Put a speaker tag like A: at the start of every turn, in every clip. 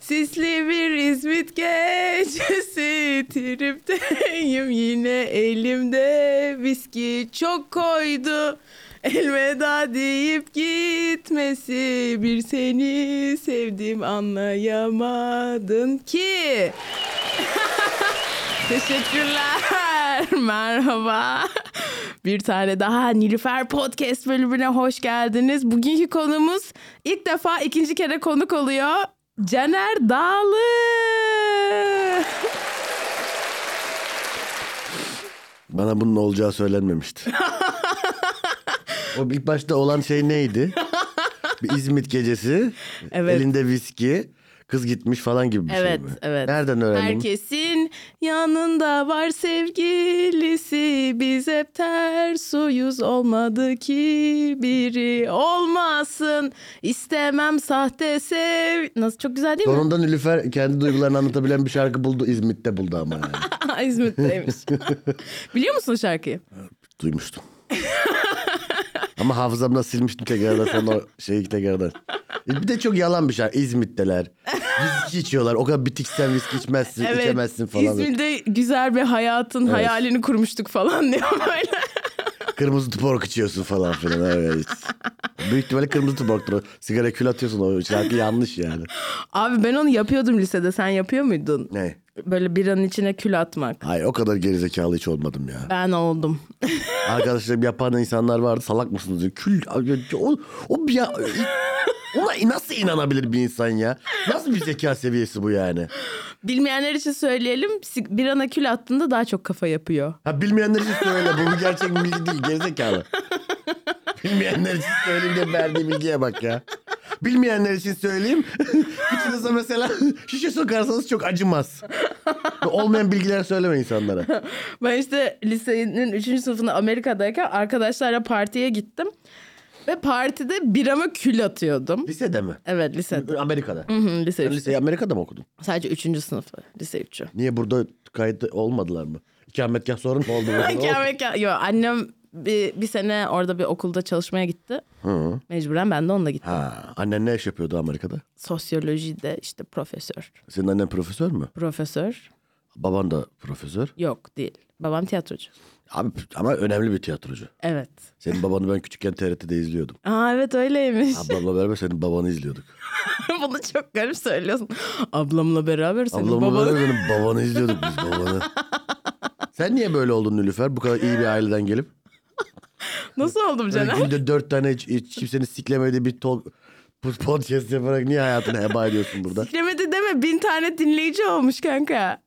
A: Sisli bir İzmit gecesi tripteyim yine elimde viski çok koydu. Elveda deyip gitmesi bir seni sevdim anlayamadın ki. Teşekkürler. Merhaba. Bir tane daha Nilüfer Podcast bölümüne hoş geldiniz. Bugünkü konumuz ilk defa ikinci kere konuk oluyor. Caner Dağlı.
B: Bana bunun olacağı söylenmemişti. o ilk başta olan şey neydi? Bir İzmit gecesi,
A: Evet.
B: elinde viski, kız gitmiş falan gibi bir şey
A: Evet,
B: mi?
A: evet.
B: Nereden öğrendin?
A: Herkesin yanında var sevgilisi. Biz hep ters uyuz olmadı ki biri olmasın. İstemem sahte sev... Nasıl çok güzel değil mi?
B: Sonunda Nilüfer kendi duygularını anlatabilen bir şarkı buldu. İzmit'te buldu ama yani.
A: İzmit'teymiş. Biliyor musun şarkıyı?
B: Duymuştum. ama hafızamdan silmiştim tekrardan sonra o şeyi tekrardan. E Bir de çok yalan bir şarkı. İzmit'teler. Viski içiyorlar. O kadar bitiksen viski içmezsin, içemezsin falan.
A: İzmir'de güzel bir hayatın hayalini kurmuştuk falan diyor böyle.
B: Kırmızı tuborg içiyorsun falan filan. Evet. Büyük ihtimalle kırmızı tuborgtur. o. Sigara kül atıyorsun o şarkı yanlış yani.
A: Abi ben onu yapıyordum lisede. Sen yapıyor muydun?
B: Ne?
A: Böyle biranın içine kül atmak.
B: Hayır o kadar gerizekalı hiç olmadım ya.
A: Ben oldum.
B: Arkadaşlarım yapan insanlar vardı salak mısınız diyor. Kül o, o bir ya, ona nasıl inanabilir bir insan ya? Nasıl bir zeka seviyesi bu yani?
A: Bilmeyenler için söyleyelim. sig- Birana kül attığında daha çok kafa yapıyor.
B: Ha bilmeyenler için söyle bu bir gerçek bilgi değil gerizekalı. Bilmeyenler için söyleyeyim de verdiği bilgiye bak ya. Bilmeyenler için söyleyeyim. İçinize mesela şişe sokarsanız çok acımaz. Olmayan bilgiler söyleme insanlara.
A: Ben işte lisenin 3. sınıfında Amerika'dayken arkadaşlarla partiye gittim. Ve partide birama kül atıyordum.
B: Lisede mi?
A: Evet lisede.
B: Amerika'da.
A: Hı hı, lise
B: Sen
A: üçte.
B: liseyi Amerika'da mı okudun?
A: Sadece 3. sınıfı. Lise 3'ü.
B: Niye burada kayıt olmadılar mı? İkametgah sorun mu oldu?
A: Amerika. Yo, annem bir, bir sene orada bir okulda çalışmaya gitti.
B: Hı.
A: Mecburen ben de onunla gittim.
B: Ha, annen ne iş yapıyordu Amerika'da?
A: Sosyolojide işte profesör.
B: Senin annen profesör mü?
A: Profesör
B: Baban da profesör.
A: yok değil. Babam tiyatrocu.
B: Abi ama önemli bir tiyatrocu.
A: Evet.
B: Senin babanı ben küçükken TRT'de izliyordum.
A: Aa evet öyleymiş.
B: Ablamla beraber senin babanı izliyorduk.
A: Bunu çok garip söylüyorsun. Ablamla beraber senin
B: Ablamla
A: babanın.
B: beraber senin babanı izliyorduk biz babanı. Sen niye böyle oldun Nülüfer? Bu kadar iyi bir aileden gelip.
A: Nasıl oldum
B: Böyle
A: Caner?
B: günde dört tane hiç, hiç kimsenin siklemediği bir tol, bu podcast yaparak niye hayatını heba ediyorsun burada?
A: Siklemedi deme bin tane dinleyici olmuş kanka.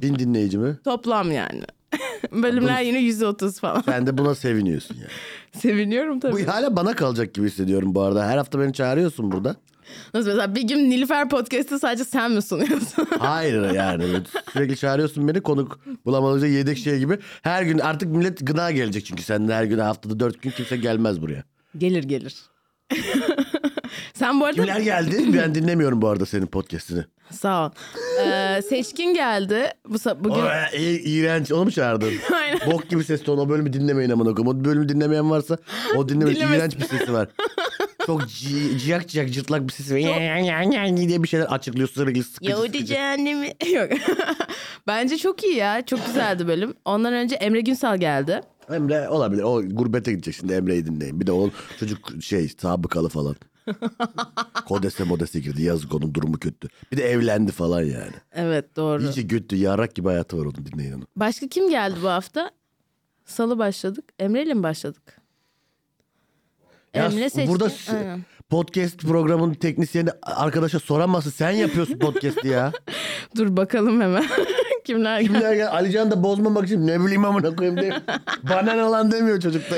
B: Bin dinleyicimi.
A: Toplam yani. Bölümler yine 130 falan.
B: Sen de buna seviniyorsun yani.
A: Seviniyorum tabii.
B: Bu hala bana kalacak gibi hissediyorum bu arada. Her hafta beni çağırıyorsun burada.
A: Nasıl mesela bir gün Nilüfer Podcast'ı sadece sen mi sunuyorsun?
B: Hayır yani sürekli çağırıyorsun beni konuk bulamadığınca yedek şey gibi. Her gün artık millet gına gelecek çünkü senden her gün haftada dört gün kimse gelmez buraya.
A: gelir gelir. sen bu arada
B: Kimler geldi? Ben dinlemiyorum bu arada senin podcastini.
A: sağ ol. Ee, seçkin geldi. Bu sa-
B: O,
A: bugün
B: e, iğrenç. Onu mu çağırdın?
A: Aynen.
B: Bok gibi ses tonu. O bölümü dinlemeyin amına koyayım. O bölümü dinlemeyen varsa o dinlemeyin.
A: Dinlemesin.
B: iğrenç bir sesi var. Çok ci- ciyak ciyak cırtlak bir sesi var. diye bir şeyler açıklıyor sürekli sıkıcı
A: Yahudi
B: sıkıcı.
A: cehennemi. Yok. Bence çok iyi ya. Çok güzeldi bölüm. Ondan önce Emre Günsal geldi.
B: Emre olabilir. O gurbete gidecek şimdi Emre'yi dinleyin. Bir de o çocuk şey sabıkalı falan. Kodese modese girdi. Yazık onun durumu kötü. Bir de evlendi falan yani.
A: Evet doğru.
B: İyice kötü. Yarak gibi hayatı var onun dinleyin onu.
A: Başka kim geldi bu hafta? Salı başladık. Emre ile mi başladık?
B: Ya
A: Emre seçti.
B: Burada s-
A: Aynen.
B: podcast programının teknisyeni arkadaşa soramazsın. Sen yapıyorsun podcast'i ya.
A: Dur bakalım hemen. Kimler geldi?
B: Kimler ya Alican da bozmamak için ne bileyim amına koyayım diye. Bana ne lan demiyor çocuk da.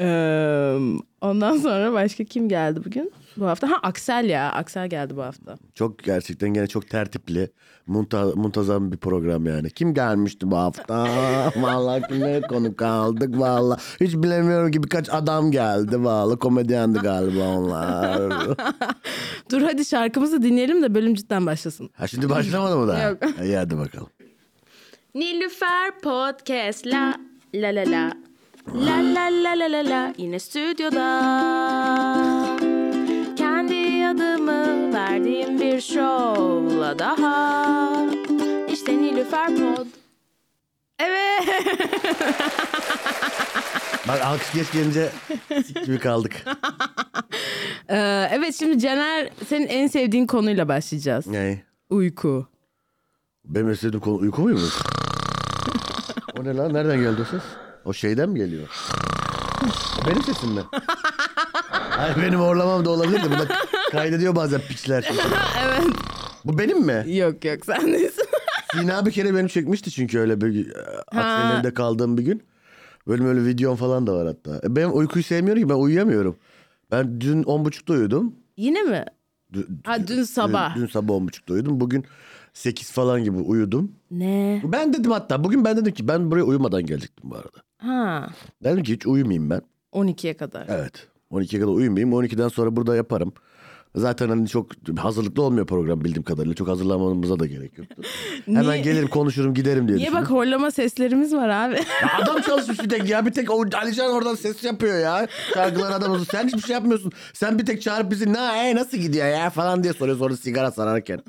A: Ee, ondan sonra başka kim geldi bugün? Bu hafta. Ha Aksel ya. Aksel geldi bu hafta.
B: Çok gerçekten gene çok tertipli. Munta, muntazam bir program yani. Kim gelmişti bu hafta? Vallahi kimlere konu kaldık vallahi. Hiç bilemiyorum ki birkaç adam geldi vallahi. Komedyendi galiba onlar.
A: Dur hadi şarkımızı dinleyelim de bölüm cidden başlasın.
B: Ha şimdi başlamadı mı daha?
A: Yok.
B: İyi hadi bakalım.
C: Nilüfer Podcast la la la la La la la la la la yine stüdyoda Kendi adımı verdim Yepyeni bir şovla daha. İşte Nilüfer Pod.
A: Evet.
B: Bak alkış geç gelince sik gibi kaldık.
A: Ee, evet şimdi Caner senin en sevdiğin konuyla başlayacağız.
B: Yani
A: Uyku.
B: benim en sevdiğim konu uyku muymuş? o ne lan? Nereden geldi o ses? O şeyden mi geliyor? O benim sesim mi? Hayır benim horlamam da olabilir de. Bunda kaydediyor bazen piçler.
A: evet.
B: Bu benim mi?
A: Yok yok sen değilsin.
B: Sina bir kere beni çekmişti çünkü öyle bir e, Aksenler'de kaldığım bir gün. Böyle böyle videom falan da var hatta. E, Ben uykuyu sevmiyorum ki ben uyuyamıyorum. Ben dün 10.30'da uyudum.
A: Yine mi?
B: Dü-
A: Ha, dün sabah.
B: Dün, dün sabah 10.30'da uyudum. Bugün 8 falan gibi uyudum.
A: Ne?
B: Ben dedim hatta bugün ben dedim ki ben buraya uyumadan gelecektim bu arada.
A: Ha.
B: Dedim ki hiç uyumayayım ben.
A: 12'ye kadar.
B: Evet. 12'ye kadar uyumayayım. 12'den sonra burada yaparım. Zaten hani çok hazırlıklı olmuyor program bildiğim kadarıyla. Çok hazırlanmamıza da gerek yoktu. Hemen
A: Niye-
B: gelirim konuşurum giderim diye
A: Niye
B: düşündüm.
A: bak horlama seslerimiz var abi?
B: Ya Adam çalışmış bir tek ya. Bir tek o Alican oradan ses yapıyor ya. Şarkılar adam olsun. Sen hiçbir şey yapmıyorsun. Sen bir tek çağırıp bizi ne e, nasıl gidiyor ya falan diye soruyor sonra sigara sararken.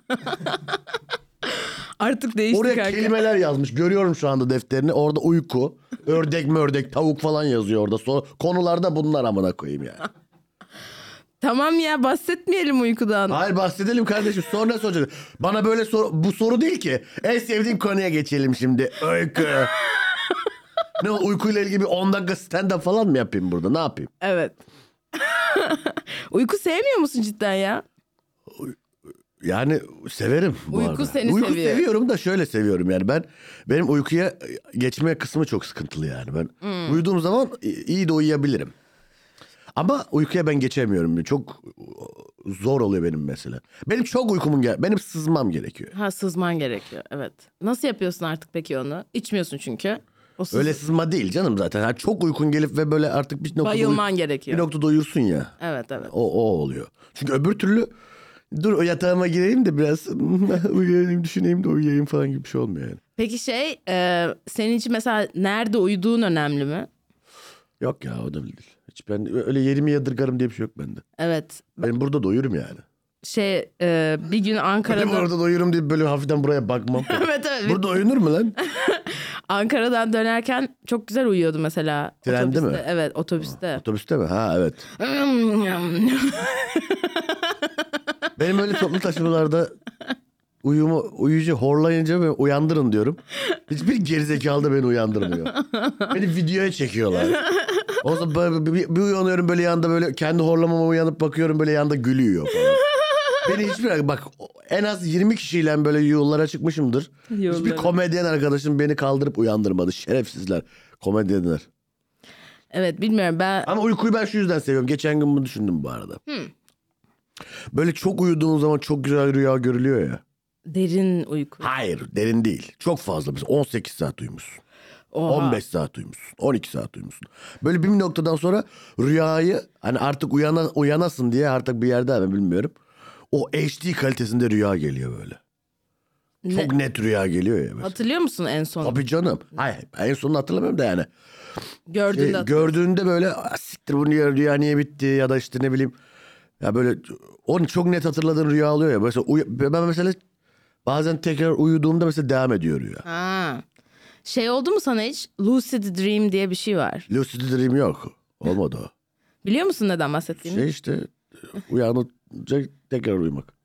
A: Artık değişti
B: Oraya
A: kanka.
B: kelimeler yazmış. Görüyorum şu anda defterini. Orada uyku, ördek mördek, tavuk falan yazıyor orada. So konularda bunlar amına koyayım ya.
A: Tamam ya bahsetmeyelim uykudan.
B: Hayır bahsedelim kardeşim. Sonra ne soracak? Bana böyle soru... Bu soru değil ki. En sevdiğim konuya geçelim şimdi. Uyku. ne o, uykuyla ilgili bir 10 dakika stand-up falan mı yapayım burada? Ne yapayım?
A: Evet. Uyku sevmiyor musun cidden ya?
B: Yani severim bu
A: Uyku
B: arada.
A: seni
B: Uyku
A: seviyor.
B: seviyorum da şöyle seviyorum yani ben benim uykuya geçme kısmı çok sıkıntılı yani ben
A: Hmm.
B: uyuduğum zaman i- iyi de uyuyabilirim. Ama uykuya ben geçemiyorum. Çok zor oluyor benim mesela. Benim çok uykumun gel benim sızmam gerekiyor.
A: Ha sızman gerekiyor evet. Nasıl yapıyorsun artık peki onu? İçmiyorsun çünkü. O sız-
B: Öyle sızma değil canım zaten. Ha, çok uykun gelip ve böyle artık bir noktada,
A: Bayılman
B: bir
A: gerekiyor.
B: noktada uyursun ya.
A: Evet evet.
B: O, o oluyor. Çünkü öbür türlü dur o yatağıma gireyim de biraz uyuyayım düşüneyim de uyuyayım falan gibi bir şey olmuyor yani.
A: Peki şey e, senin için mesela nerede uyuduğun önemli mi?
B: Yok ya o da değil. Hiç ben öyle yerimi yadırgarım diye bir şey yok bende.
A: Evet
B: Ben burada doyurum yani.
A: şey e, bir gün
B: Benim
A: Ankara'da
B: orada doyurum diye böyle hafiften buraya bakmam.
A: evet evet
B: burada oyunur mu lan?
A: Ankara'dan dönerken çok güzel uyuyordu mesela.
B: Trende mi?
A: Otobüste, Evet otobüste.
B: Otobüste mi? Ha evet. Benim öyle toplu taşımalarda uyumu, uyuyucu horlayınca ben uyandırın diyorum. Hiçbir gerizekalı da beni uyandırmıyor. Beni videoya çekiyorlar. O zaman böyle bir, bir- bir uyanıyorum böyle yanda böyle kendi horlamama uyanıp bakıyorum böyle yanda gülüyor falan. Beni hiçbir bak en az 20 kişiyle böyle yollara çıkmışımdır. Hiçbir
A: Yollara.
B: komedyen arkadaşım beni kaldırıp uyandırmadı. Şerefsizler. Komedyenler.
A: evet bilmiyorum ben
B: Ama uykuyu ben şu yüzden seviyorum. Geçen gün bunu düşündüm bu arada. Böyle çok uyuduğun zaman çok güzel rüya görülüyor ya.
A: derin uyku.
B: Hayır derin değil. Çok fazla. Mesela 18 saat uyumuşsun.
A: Oha.
B: 15 saat uyumuşsun. 12 saat uyumuşsun. Böyle bir noktadan sonra rüyayı hani artık uyana, uyanasın diye artık bir yerde mi bilmiyorum. O HD kalitesinde rüya geliyor böyle. Çok net rüya geliyor ya mesela.
A: Hatırlıyor musun en son?
B: Tabii canım. Hayır en sonunu hatırlamıyorum da yani.
A: Gördüğünde
B: Şey,
A: hatırlıyor
B: gördüğünde böyle "Ah, siktir bu rüya, rüya niye bitti ya da işte ne bileyim. Ya böyle onu çok net hatırladığın rüya oluyor ya. Mesela uy- ben mesela bazen tekrar uyuduğumda mesela devam ediyor rüya.
A: Ha. Şey oldu mu sana hiç? Lucid Dream diye bir şey var.
B: Lucid Dream yok. Olmadı o.
A: Biliyor musun neden bahsettiğimi?
B: Şey işte uyanınca tekrar uyumak. Şey-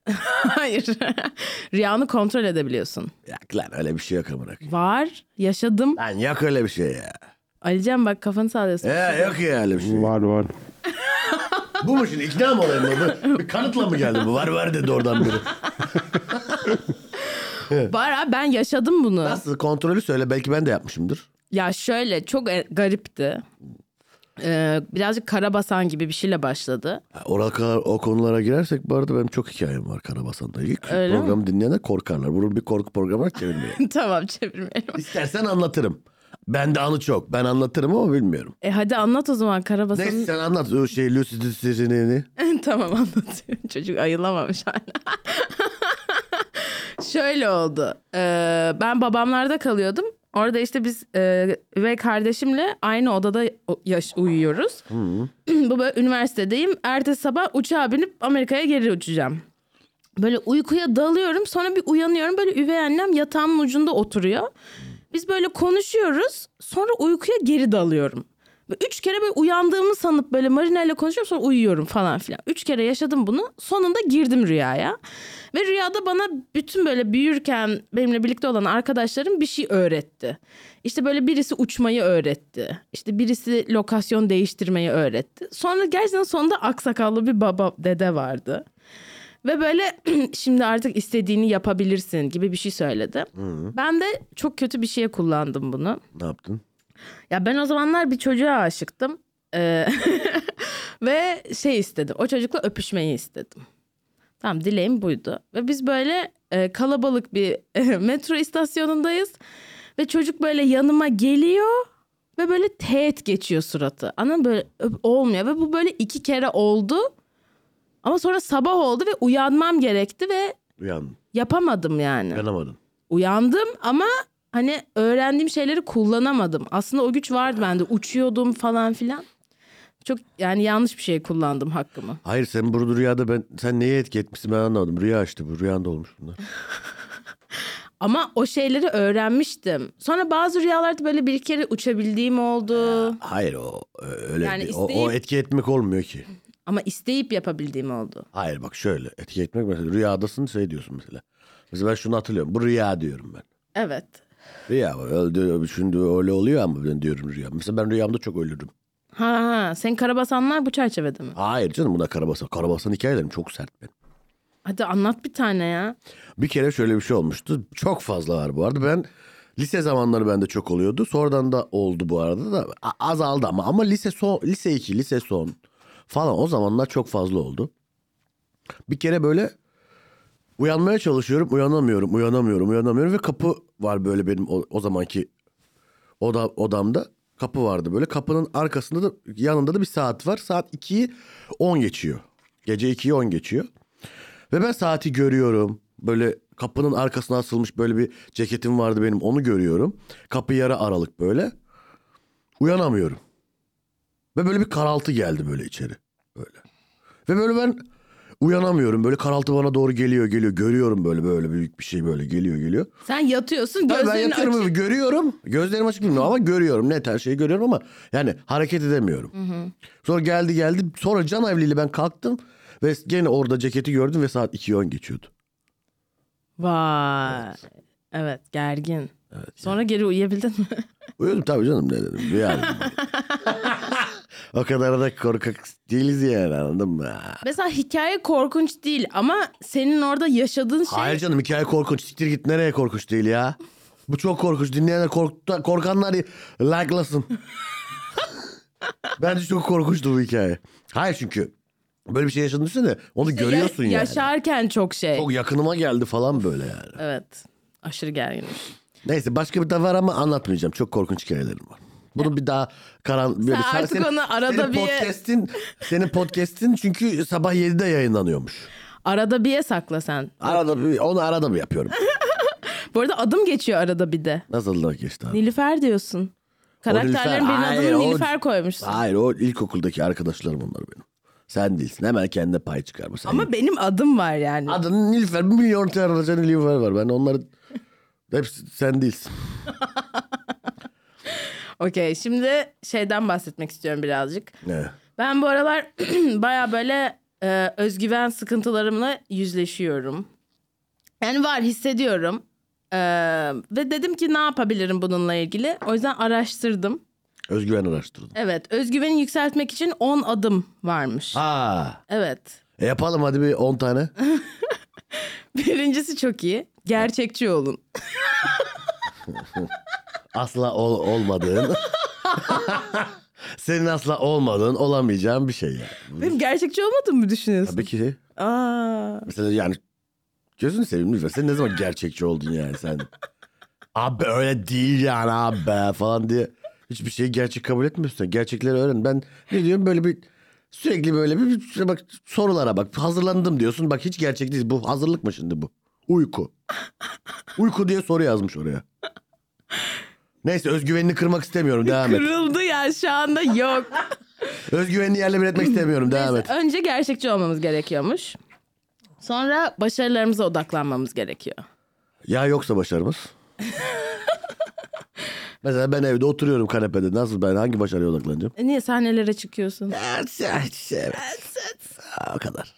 A: Hayır. Rüyanı kontrol edebiliyorsun.
B: Yok lan öyle bir şey yok amına. koyayım.
A: Var. Yaşadım.
B: Lan yok öyle bir şey ya.
A: Alican bak kafanı sallıyorsun.
B: Ee, yok ya öyle bir şey.
D: Var var.
B: bu mu şimdi ikna mı olayım oldu? Bir kanıtla mı geldi bu? Var var dedi oradan biri.
A: Var abi ben yaşadım bunu.
B: Nasıl kontrolü söyle belki ben de yapmışımdır.
A: Ya şöyle çok e- garipti. Ee, birazcık karabasan gibi bir şeyle başladı.
B: Ha, Oral kadar o konulara girersek bu arada benim çok hikayem var Karabasan'da. İlk
A: Öyle mi?
B: programı dinleyenler korkarlar. Bunu bir korku programına çevirmeyin.
A: tamam çevirmeyelim.
B: İstersen anlatırım. Ben de anı çok. Ben anlatırım ama bilmiyorum.
A: E hadi anlat o zaman
B: Neyse
A: karabasanın.
B: sen anlat o şey Lucid'in sesini.
A: tamam anlatıyorum. Çocuk ayılamamış hala. Şöyle oldu. Ee, ben babamlarda kalıyordum. Orada işte biz e, ve kardeşimle aynı odada o- yaş uyuyoruz. Bu böyle üniversitedeyim. Ertesi sabah uçağa binip Amerika'ya geri uçacağım. Böyle uykuya dalıyorum sonra bir uyanıyorum böyle üvey annem yatağımın ucunda oturuyor. Biz böyle konuşuyoruz sonra uykuya geri dalıyorum. Ve Üç kere böyle uyandığımı sanıp böyle Marina ile konuşuyorum sonra uyuyorum falan filan. Üç kere yaşadım bunu sonunda girdim rüyaya. Ve rüyada bana bütün böyle büyürken benimle birlikte olan arkadaşlarım bir şey öğretti. İşte böyle birisi uçmayı öğretti. İşte birisi lokasyon değiştirmeyi öğretti. Sonra gerçekten sonunda aksakallı bir baba dede vardı. Ve böyle şimdi artık istediğini yapabilirsin gibi bir şey söyledi. Ben de çok kötü bir şeye kullandım bunu.
B: Ne yaptın?
A: Ya ben o zamanlar bir çocuğa aşıktım. Ee, ve şey istedim. O çocukla öpüşmeyi istedim. Tamam dileğim buydu. Ve biz böyle e, kalabalık bir metro istasyonundayız. Ve çocuk böyle yanıma geliyor. Ve böyle teğet geçiyor suratı. Anam böyle öp- olmuyor. Ve bu böyle iki kere oldu. Ama sonra sabah oldu ve uyanmam gerekti ve
B: Uyandın.
A: yapamadım yani
B: Uyanamadın.
A: uyandım ama hani öğrendiğim şeyleri kullanamadım. Aslında o güç vardı bende. Uçuyordum falan filan. Çok yani yanlış bir şey kullandım hakkımı.
B: Hayır sen burada rüyada ben sen neye etki etmişsin ben anlamadım. Rüya açtı bu. Rüyanda olmuş bunlar.
A: Ama o şeyleri öğrenmiştim. Sonra bazı rüyalarda böyle bir kere uçabildiğim oldu.
B: Hayır o e, öyle
A: Yani
B: bir- o, o
A: isteyip-
B: etki etmek olmuyor ki.
A: Ama isteyip yapabildiğim oldu.
B: Hayır bak şöyle etki etmek mesela rüyadasın şey diyorsun mesela. Mesela ben şunu hatırlıyorum. Bu rüya diyorum ben.
A: Evet.
B: Rüya var. öyle, şimdi öyle oluyor ama ben diyorum rüya. Mesela ben rüyamda çok ölürüm.
A: Ha ha. Sen karabasanlar bu çerçevede mi?
B: Hayır canım buna karabasan. Karabasan hikayelerim çok sert benim.
A: Hadi anlat bir tane ya.
B: Bir kere şöyle bir şey olmuştu. Çok fazla var bu arada. Ben lise zamanları bende çok oluyordu. Sonradan da oldu bu arada da A- azaldı ama ama lise son lise 2, lise son falan o zamanlar çok fazla oldu. Bir kere böyle uyanmaya çalışıyorum. Uyanamıyorum, uyanamıyorum, uyanamıyorum ve kapı var böyle benim o, o zamanki oda, odamda. Kapı vardı böyle. Kapının arkasında da yanında da bir saat var. Saat 2'yi 10 geçiyor. Gece 2'yi 10 geçiyor. Ve ben saati görüyorum. Böyle kapının arkasına asılmış böyle bir ceketim vardı benim onu görüyorum. Kapı yarı aralık böyle. Uyanamıyorum. Ve böyle bir karaltı geldi böyle içeri. Böyle. Ve böyle ben uyanamıyorum. Böyle karaltı bana doğru geliyor geliyor. Görüyorum böyle böyle büyük bir şey böyle geliyor geliyor.
A: Sen yatıyorsun
B: Tabii ben
A: gözlerini
B: yatıyorum
A: açık.
B: ve görüyorum. Gözlerim açık bilmiyorum ama görüyorum. Net her şeyi görüyorum ama yani hareket edemiyorum. Sonra geldi geldi. Sonra can evliliği ben kalktım. Ve gene orada ceketi gördüm ve saat 2.10 geçiyordu.
A: Vay. Evet. gergin. Sonra geri uyuyabildin mi?
B: Uyudum tabii canım ne dedim. Rüya dedim. o kadar da korkak değiliz yani anladın mı?
A: Mesela hikaye korkunç değil ama senin orada yaşadığın şey...
B: Hayır canım hikaye korkunç. Siktir git nereye korkunç değil ya? Bu çok korkunç. Dinleyenler korktu, korkanlar like'lasın. Bence çok korkunçtu bu hikaye. Hayır çünkü böyle bir şey yaşadın düşünsene. Onu
A: İşte
B: görüyorsun
A: ya-
B: yani.
A: Yaşarken çok şey.
B: Çok yakınıma geldi falan böyle yani.
A: Evet. Aşırı gergin.
B: Neyse başka bir de var ama anlatmayacağım. Çok korkunç hikayelerim var. Bunu bir daha karan böyle
A: Sen artık onu arada
B: senin
A: bir-
B: podcast'in senin podcast'in çünkü sabah 7'de yayınlanıyormuş.
A: Arada bir sakla sen.
B: Arada bir, onu arada mı yapıyorum?
A: Bu arada adım geçiyor arada bir de.
B: Nasıl da geçti abi?
A: Nilüfer diyorsun.
B: Nilüfer-
A: Karakterlerin birinin
B: Hayır,
A: adını
B: o-
A: Nilüfer koymuşsun.
B: Hayır o ilkokuldaki arkadaşlarım onlar benim. Sen değilsin. Hemen kendine pay çıkarma. Sen
A: Ama benim adım var yani.
B: Adın Nilüfer. Bir milyon tane aracan Nilüfer var. Ben onları... Hepsi sen değilsin.
A: Okey şimdi şeyden bahsetmek istiyorum birazcık.
B: Ne?
A: Ben bu aralar baya böyle e, özgüven sıkıntılarımla yüzleşiyorum. Yani var hissediyorum. E, ve dedim ki ne yapabilirim bununla ilgili. O yüzden araştırdım.
B: Özgüven araştırdım.
A: Evet özgüveni yükseltmek için 10 adım varmış.
B: Aa,
A: Evet.
B: e yapalım hadi bir 10 tane.
A: Birincisi çok iyi. Gerçekçi olun.
B: asla ol- olmadığın. Senin asla olmadığın, olamayacağın bir şey yani.
A: Benim gerçekçi olmadığımı mı düşünüyorsun?
B: Tabii ki.
A: Aa.
B: Mesela yani gözünü seveyim lütfen. Sen ne zaman gerçekçi oldun yani sen? Abi öyle değil yani abi falan diye. Hiçbir şeyi gerçek kabul etmiyorsun. sen. Gerçekleri öğren. Ben ne diyorum böyle bir sürekli böyle bir- bir bak sorulara bak. Hazırlandım diyorsun. Bak hiç gerçek değil. Bu hazırlık mı şimdi bu? Uyku. Uyku diye soru yazmış oraya. Neyse özgüvenini kırmak istemiyorum. Devam et.
A: Kırıldı ya şu anda yok.
B: Özgüvenini yerle bir etmek istemiyorum. Devam et.
A: Önce gerçekçi olmamız gerekiyormuş. Sonra başarılarımıza odaklanmamız gerekiyor.
B: Ya yoksa başarımız. Mesela ben evde oturuyorum kanepede. Nasıl ben hangi başarıya odaklanacağım?
A: E niye sahnelere çıkıyorsun?
B: Evet. o kadar.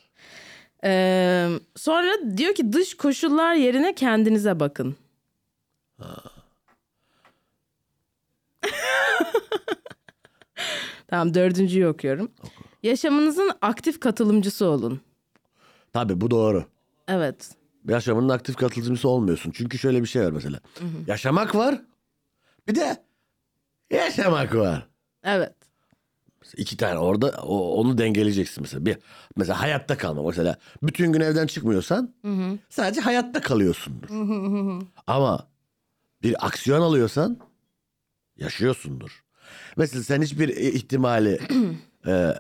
A: Ee, sonra diyor ki dış koşullar yerine kendinize bakın. tamam dördüncüyü okuyorum. Yaşamınızın aktif katılımcısı olun.
B: Tabii bu doğru.
A: Evet.
B: yaşamının aktif katılımcısı olmuyorsun. Çünkü şöyle bir şey var mesela. Yaşamak var. Bir de yaşamak var.
A: Evet.
B: Mesela İki tane orada o- onu dengeleyeceksin mesela. Bir mesela hayatta kalma mesela. Bütün gün evden çıkmıyorsan sadece hayatta kalıyorsundur. Ama bir aksiyon alıyorsan yaşıyorsundur. Mesela sen hiçbir ihtimali e,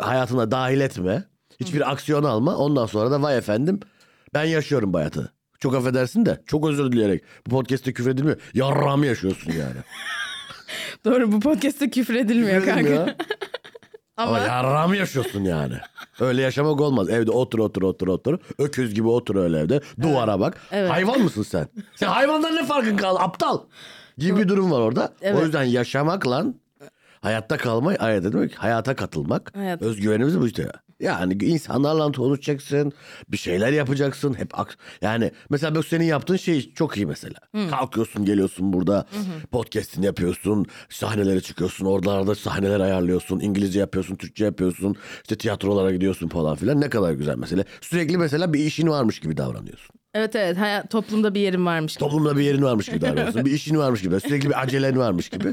B: hayatına dahil etme. Hiçbir aksiyon alma. Ondan sonra da vay efendim ben yaşıyorum bu hayatı. Çok affedersin de çok özür dileyerek. Bu podcast'te küfredilmiyor. Yarrağımı yaşıyorsun yani.
A: Doğru bu podcast'te küfredilmiyor kanka.
B: Küfredilmiyor.
A: Ama,
B: Ama yarrağımı yaşıyorsun yani. Öyle yaşamak olmaz. Evde otur otur otur otur. Öküz gibi otur öyle evde. Duvara bak.
A: Evet.
B: Hayvan mısın sen? Sen hayvandan ne farkın kaldı aptal? Gibi bir durum var orada.
A: Evet.
B: O yüzden yaşamak lan hayatta kalmayı hayat demek hayata katılmak.
A: Hayat.
B: Özgüvenimiz bu işte. Yani insanlarla konuşacaksın, bir şeyler yapacaksın. Hep aks- yani mesela bak senin yaptığın şey çok iyi mesela. Kalkıyorsun, geliyorsun burada, podcast'ini yapıyorsun, sahnelere çıkıyorsun, oralarda sahneler ayarlıyorsun, İngilizce yapıyorsun, Türkçe yapıyorsun, işte tiyatrolara gidiyorsun falan filan. Ne kadar güzel mesela. Sürekli mesela bir işin varmış gibi davranıyorsun.
A: evet evet hayat, toplumda bir yerim varmış.
B: Toplumda bir yerin varmış gibi davranıyorsun. bir işin varmış gibi. Sürekli bir acelen varmış gibi.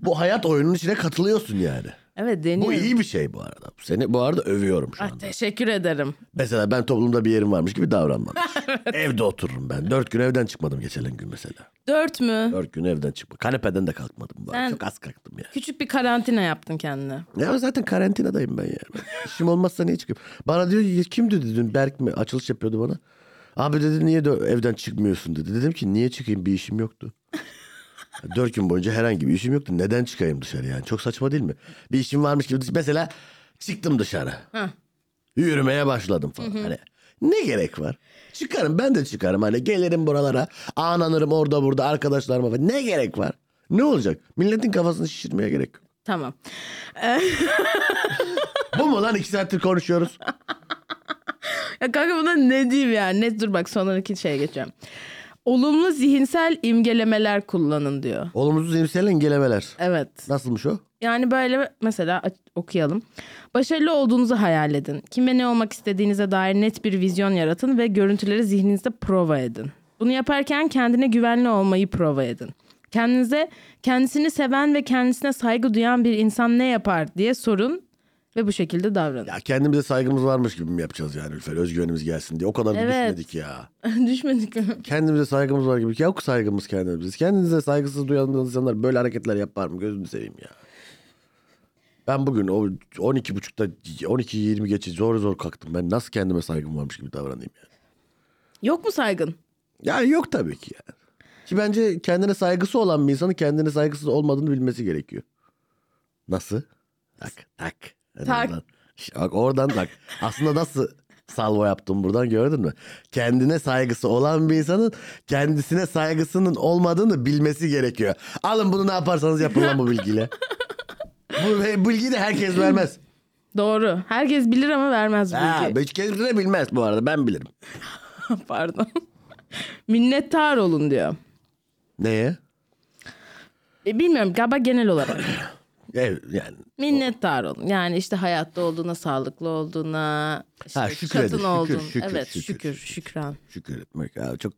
B: Bu hayat oyunun içine katılıyorsun yani.
A: evet Ah. deniyorum.
B: Bu iyi bir şey bu arada. Seni bu arada övüyorum şu
A: Ay,
B: anda.
A: teşekkür ederim.
B: Mesela ben toplumda bir yerim varmış gibi davranmam. Evde otururum ben. Dört gün evden çıkmadım geçen gün mesela.
A: Dört mü?
B: Dört gün evden çıkmadım. Kanepeden de kalkmadım. bu arada.
A: Sen-
B: Çok az kalktım yani.
A: Küçük bir karantina yaptın kendine.
B: Ya zaten karantinadayım ben yani. İşim olmazsa niye çıkayım? Bana diyor ki, kim dedi dün Berk mi? Açılış yapıyordu bana. Abi dedi niye de evden çıkmıyorsun dedi. Dedim ki niye çıkayım bir işim yoktu. Dört gün boyunca herhangi bir işim yoktu. Neden çıkayım dışarı yani? Çok saçma değil mi? Bir işim varmış gibi. Mesela çıktım dışarı. Yürümeye başladım falan. Hani ne gerek var? Çıkarım ben de çıkarım. Hani gelirim buralara. Ağlanırım orada burada arkadaşlarıma. falan. Ne gerek var? Ne olacak? Milletin kafasını şişirmeye gerek yok.
A: Tamam.
B: Bu mu lan iki saattir konuşuyoruz?
A: Ya kanka buna ne diyeyim yani? Ne dur bak sonraki şeye geçeceğim. Olumlu zihinsel imgelemeler kullanın diyor.
B: Olumsuz imsel incelemeler.
A: Evet.
B: Nasılmış o?
A: Yani böyle mesela aç- okuyalım. Başarılı olduğunuzu hayal edin. Kime ne olmak istediğinize dair net bir vizyon yaratın ve görüntüleri zihninizde prova edin. Bunu yaparken kendine güvenli olmayı prova edin. Kendinize kendisini seven ve kendisine saygı duyan bir insan ne yapar diye sorun ve bu şekilde davranın.
B: Ya kendimize saygımız varmış gibi mi yapacağız yani Ülfer? Özgüvenimiz gelsin diye. O kadar da
A: Evet.
B: düşünmedik ya.
A: Düşmedik mi?
B: Kendimize saygımız var gibi. Yok saygımız kendimiz. Kendinize saygısız duyan insanlar böyle hareketler yapar mı? Gözünü seveyim ya. Ben bugün o 12.30'da 12.20 geçe zor zor kalktım. Ben nasıl kendime saygım varmış gibi davranayım yani.
A: Yok mu saygın?
B: Yani yok tabii ki yani. Ki bence kendine saygısı olan bir insanın kendine saygısız olmadığını bilmesi gerekiyor. Nasıl? Tak tak. En
A: Tak.
B: azından. Ş- Bak oradan tak. Aslında nasıl salvo yaptım buradan gördün mü? Kendine saygısı olan bir insanın kendisine saygısının olmadığını bilmesi gerekiyor. Alın bunu ne yaparsanız yapın lan bu bilgiyle. bu bu bilgiyi de herkes vermez.
A: Doğru. Herkes bilir ama vermez
B: Ha,
A: bilgi.
B: hiç kendine bilmez bu arada ben bilirim.
A: Pardon. Minnettar olun diyor.
B: Neye?
A: E, bilmiyorum galiba genel olarak.
B: Ev, yani
A: Minnettar olun. Yani işte hayatta olduğuna, sağlıklı olduğuna, işte
B: Ha, şükredin,
A: çatın
B: şükür,
A: olduğun.
B: şükür,
A: evet,
B: şükür,
A: şükür,
B: şükür.
A: şükran.
B: şükür etmek ha, çok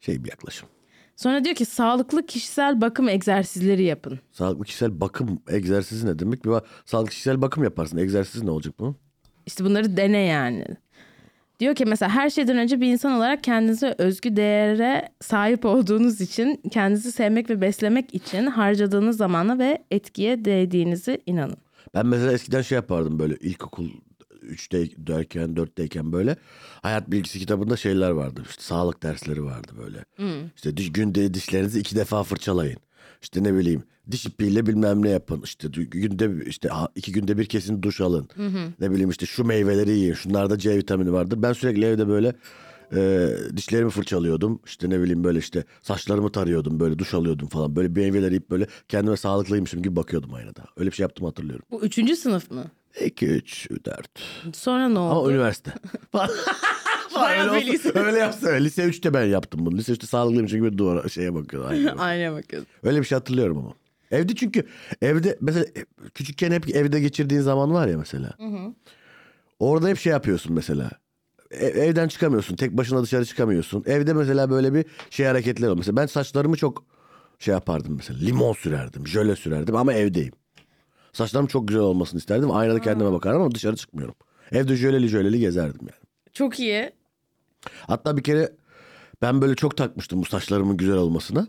B: şey bir yaklaşım.
A: Sonra diyor ki sağlıklı kişisel bakım egzersizleri yapın.
B: Sağlıklı kişisel bakım egzersizi ne demek? Bir bak- sağlıklı kişisel bakım yaparsın. Egzersiz ne olacak bunun?
A: İşte bunları dene yani. Diyor ki mesela her şeyden önce bir insan olarak kendinize özgü değere sahip olduğunuz için, kendinizi sevmek ve beslemek için harcadığınız zamana ve etkiye değdiğinizi inanın.
B: Ben mesela eskiden şey yapardım böyle ilkokul 3'teyken 4'teyken böyle hayat bilgisi kitabında şeyler vardı. İşte sağlık dersleri vardı böyle. İşte diş, günde dişlerinizi iki defa fırçalayın. İşte ne bileyim diş ipiyle bilmem ne yapın. İşte dü- günde işte ha- iki günde bir kesin duş alın. Ne bileyim işte şu meyveleri yiyin. Şunlarda C vitamini vardır. Ben sürekli evde böyle e, dişlerimi fırçalıyordum. İşte ne bileyim böyle işte saçlarımı tarıyordum. Böyle duş alıyordum falan. Böyle meyveleri yiyip böyle kendime sağlıklıymışım gibi bakıyordum aynada. Öyle bir şey yaptım hatırlıyorum.
A: Bu üçüncü sınıf mı?
B: 2, 3, 4.
A: Sonra ne oldu?
B: Ama üniversite. Falan. öyle,
A: Bayağı
B: olsa,
A: bilgisi.
B: öyle yapsa. Lise 3'te ben yaptım bunu. Lise 3'te sağlıklıymışım gibi duvara şeye bakıyordum. aynaya.
A: Aynaya bakıyorsun.
B: Öyle bir şey hatırlıyorum ama. Evde çünkü evde mesela e, küçükken hep evde geçirdiğin zaman var ya mesela. Orada hep şey yapıyorsun mesela. E- evden çıkamıyorsun. Tek başına dışarı çıkamıyorsun. Evde mesela böyle bir şey hareketler oluyor. Mesela ben saçlarımı çok şey yapardım mesela. Limon sürerdim. Jöle sürerdim ama evdeyim. Saçlarım çok güzel olmasını isterdim. Aynada kendime bakarım ama dışarı çıkmıyorum. Evde jöleli jöleli gezerdim yani.
A: Çok iyi.
B: Hatta bir kere ben böyle çok takmıştım bu saçlarımın güzel olmasına.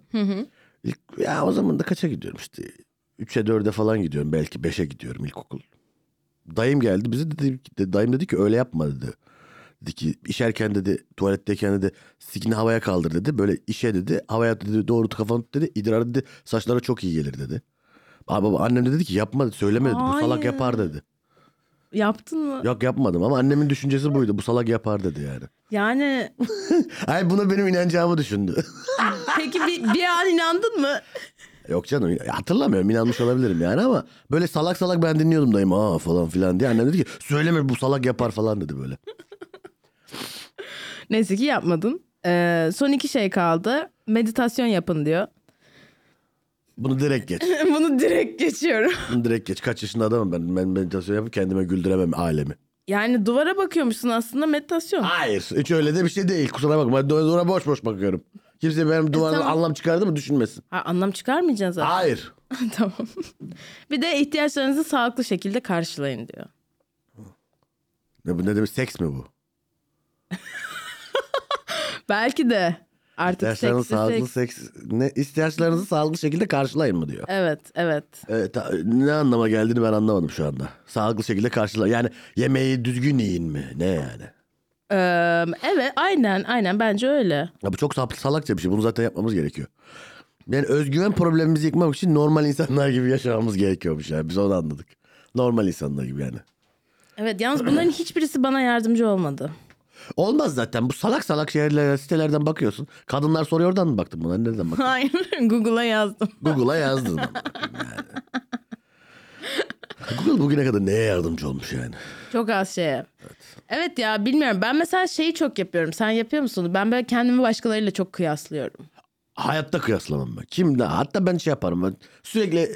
B: İlk, ya o zaman da kaça gidiyorum işte. 3'e 4'e falan gidiyorum belki 5'e gidiyorum ilkokul. Dayım geldi bize dedi, de- dayım dedi ki öyle yapma dedi. Dedi ki işerken dedi tuvaletteyken dedi sikini havaya kaldır dedi. Böyle işe dedi havaya dedi doğru kafanı tut dedi idrar dedi saçlara çok iyi gelir dedi. Aa, Baba, annem de dedi ki yapma dedi, söyleme dedi bu salak
A: Hayır.
B: yapar dedi.
A: Yaptın mı?
B: Yok yapmadım ama annemin düşüncesi buydu bu salak yapar dedi yani.
A: Yani
B: Ay buna benim inancımı düşündü.
A: peki bir, bir an inandın mı?
B: Yok canım hatırlamıyorum inanmış olabilirim yani ama böyle salak salak ben dinliyordum dayım aa falan filan diye. Annem dedi ki söyleme bu salak yapar falan dedi böyle.
A: Neyse ki yapmadın. Ee, son iki şey kaldı. Meditasyon yapın diyor.
B: Bunu direkt geç.
A: Bunu direkt geçiyorum.
B: Bunu direkt geç. Kaç yaşında adamım ben. Ben meditasyon yapıp kendime güldüremem alemi.
A: Yani duvara bakıyormuşsun aslında meditasyon.
B: Hayır. Hiç öyle de bir şey değil. Kusura bakma. Ben duvara boş boş bakıyorum. Kimse benim duvardan
A: E, tamam.
B: anlam çıkardı mı düşünmesin.
A: Ha, anlam çıkarmayacaksın zaten.
B: Hayır.
A: tamam. bir de ihtiyaçlarınızı sağlıklı şekilde karşılayın diyor.
B: Ne, bu, ne demek seks mi bu?
A: Belki de artık
B: Derslerinizi
A: seksi
B: sağlıklı
A: seks-
B: seks. Ne, ihtiyaçlarınızı sağlıklı şekilde karşılayın mı diyor.
A: Evet, evet.
B: Evet, ta- ne anlama geldiğini ben anlamadım şu anda. Sağlıklı şekilde karşıla. Yani yemeği düzgün yiyin mi? Ne yani?
A: Ee, evet, aynen, aynen bence öyle.
B: Ya bu çok sap- salakça bir şey. Bunu zaten yapmamız gerekiyor. Yani özgüven problemimizi yıkmak için normal insanlar gibi yaşamamız gerekiyormuş yani. Biz onu anladık. Normal insanlar gibi yani.
A: Evet, yalnız bunların hiçbirisi bana yardımcı olmadı.
B: Olmaz zaten. Bu salak salak şeyler, sitelerden bakıyorsun. Kadınlar soruyor oradan mı baktın buna? Nereden baktın?
A: Hayır, Google'a yazdım.
B: Google'a yazdın. ama yani. Google bugüne kadar neye yardımcı olmuş yani?
A: Çok az şeye. Evet. ya bilmiyorum. Ben mesela şeyi çok yapıyorum. Sen yapıyor musun? Ben böyle kendimi başkalarıyla çok kıyaslıyorum.
B: Hayatta kıyaslamam ben. Kimle? Hatta ben şey yaparım. Ben sürekli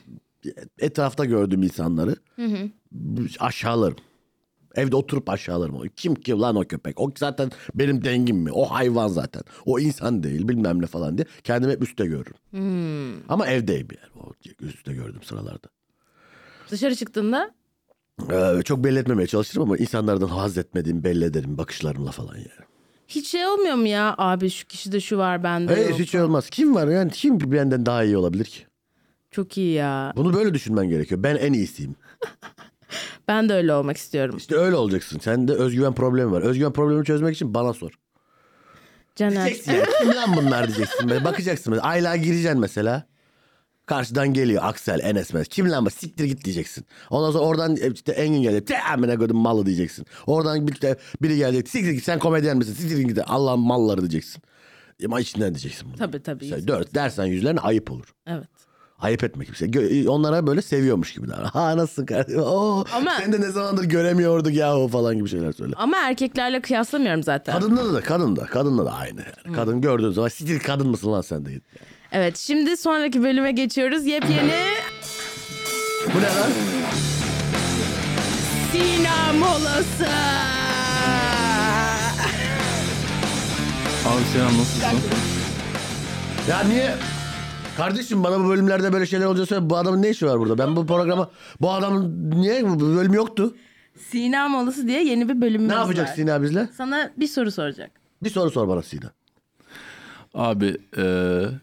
B: etrafta gördüğüm insanları aşağılarım. Evde oturup aşağılarım. Kim ki lan o köpek? O zaten benim dengim mi? O hayvan zaten. O insan değil bilmem ne falan diye. Kendimi hep üstte görürüm. Ama evdeyim yani. O üstte gördüm sıralarda.
A: Dışarı çıktığında
B: Ee, çok belli etmemeye çalışırım ama insanlardan haz etmediğimi belli ederim bakışlarımla falan yani.
A: hiç şey olmuyor mu ya? Abi şu kişide şu var bende
B: Hayır
A: yok.
B: hiç şey olmaz. Kim var yani? Kim benden daha iyi olabilir ki?
A: Çok iyi ya.
B: Bunu böyle düşünmen gerekiyor. Ben en iyisiyim.
A: Ben de öyle olmak istiyorum.
B: İşte öyle olacaksın. Sende özgüven problemi var. Özgüven problemini çözmek için bana sor.
A: Caner.
B: Diyeceksin yani, Kim lan bunlar diyeceksin. Böyle Bakacaksın. Böyle. Ayla gireceksin mesela. Karşıdan geliyor Aksel, Enes mesela. Kim lan bu? Siktir git diyeceksin. Ondan sonra oradan e, işte Engin gelip te amına koydum malı diyeceksin. Oradan bir, de biri gelecek. Siktir git sen komedyen misin? Siktir git Allah'ın malları diyeceksin. E, Ama içinden diyeceksin bunu.
A: Tabii tabii.
B: Mesela dört dersen yüzlerine ayıp olur.
A: Evet.
B: Ayıp etmek kimse. Gö- e, Onlara böyle seviyormuş gibi davran. Ha nasılsın kardeşim? Oo,
A: Ama-
B: Seni de ne zamandır göremiyorduk yahu falan gibi şeyler söyle.
A: Ama erkeklerle kıyaslamıyorum zaten.
B: Kadında da kadında kadında da aynı. yani. Kadın gördüğün zaman siktir kadın mısın lan sen de git.
A: Evet şimdi sonraki bölüme geçiyoruz. Yepyeni
B: Bu ne lan?
A: Sina molası.
D: Abi selam nasılsın?
B: Ya niye? Kardeşim bana bu bölümlerde böyle şeyler olacak söyle. Bu adamın ne işi var burada? Ben bu programa bu adamın niye bu bölüm yoktu?
A: Sina molası diye yeni bir bölümümüz
B: Ne
A: var.
B: yapacak Sina bizle?
A: Sana bir soru soracak.
B: Bir soru sor bana Sina.
D: Abi e,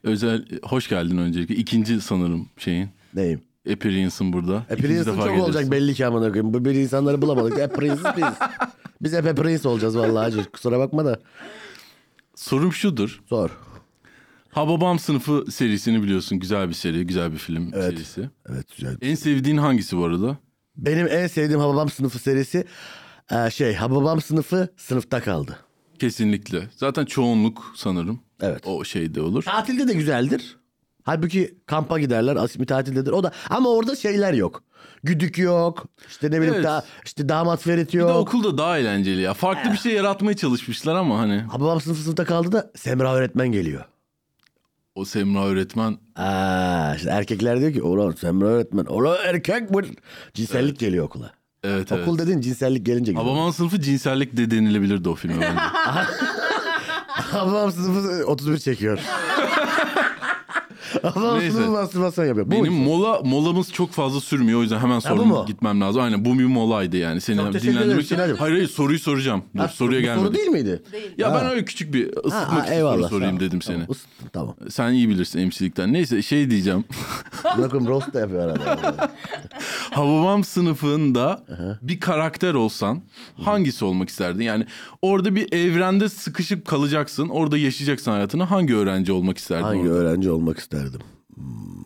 D: özel hoş geldin öncelikle. İkinci sanırım şeyin.
B: Neyim?
D: E, Prince'in burada.
B: E,
D: İkinci
B: prince'in
D: defa
B: çok
D: gelirsin.
B: olacak belli ki amına koyayım. Bu bir insanları bulamadık. Hep prince'iz biz. Biz hep, e, hep prince olacağız vallahi. Kusura bakma da.
D: Sorum şudur.
B: Sor.
D: Hababam sınıfı serisini biliyorsun. Güzel bir seri, güzel bir film serisi.
B: Evet güzel.
D: En sevdiğin hangisi bu arada?
B: Benim en sevdiğim Hababam sınıfı serisi e, şey Hababam sınıfı sınıfta kaldı.
D: Kesinlikle. Zaten çoğunluk sanırım.
B: Evet.
D: O şeyde olur.
B: Tatilde de güzeldir. Halbuki kampa giderler. Asmi tatildedir. O da ama orada şeyler yok. Güdük yok. İşte ne bileyim
D: Evet.
B: da işte damat ferit
D: Bir de
B: yok.
D: okulda daha eğlenceli ya. Farklı bir şey yaratmaya çalışmışlar ama hani
B: Hababam sınıfı sınıfta kaldı da Semra öğretmen geliyor.
D: o Semra öğretmen
B: Aa, işte erkekler diyor ki ulan Semra öğretmen. Ulan erkek bu. Cinsellik geliyor okula.
D: evet evet.
B: Okul dedin cinsellik gelince geliyor.
D: Hababam sınıfı cinsellik de denilebilirdi o filme bence.
B: Hababam sınıfı 31 çekiyor. Hababam
D: Neyse.
B: sınıfı mastürbasyon yapıyor. Bu
D: Benim mola molamız çok fazla sürmüyor o yüzden hemen
B: bu mu?
D: sorum gitmem lazım. Aynen bu bir molaydı yani. Seni
B: Çok teşekkür ederim
D: dinlendirmek için. Hayır
B: Sinan'cığım.
D: hayır soruyu soracağım. Dur,
B: Ha,
D: soruya
B: bu
D: gelmedi.
B: Soru değil miydi?
D: Ya ben
B: Ha.
D: öyle küçük bir
B: Ha,
D: ısıtmak
B: ha,
D: için soru
B: eyvallah.
D: sorayım
B: Tamam,
D: dedim
B: tamam,
D: seni.
B: ısıttım, Tamam.
D: Sen iyi bilirsin emsilikten. Neyse şey diyeceğim.
B: Bakın roast da yapıyor arada.
D: Hababam sınıfında bir karakter olsan hangisi olmak isterdin? Yani orada bir evrende sıkışıp kalacaksın. Orada yaşayacaksın hayatını. Hangi öğrenci olmak isterdin?
B: Hangi
D: orada?
B: öğrenci olmak isterdim? Hmm.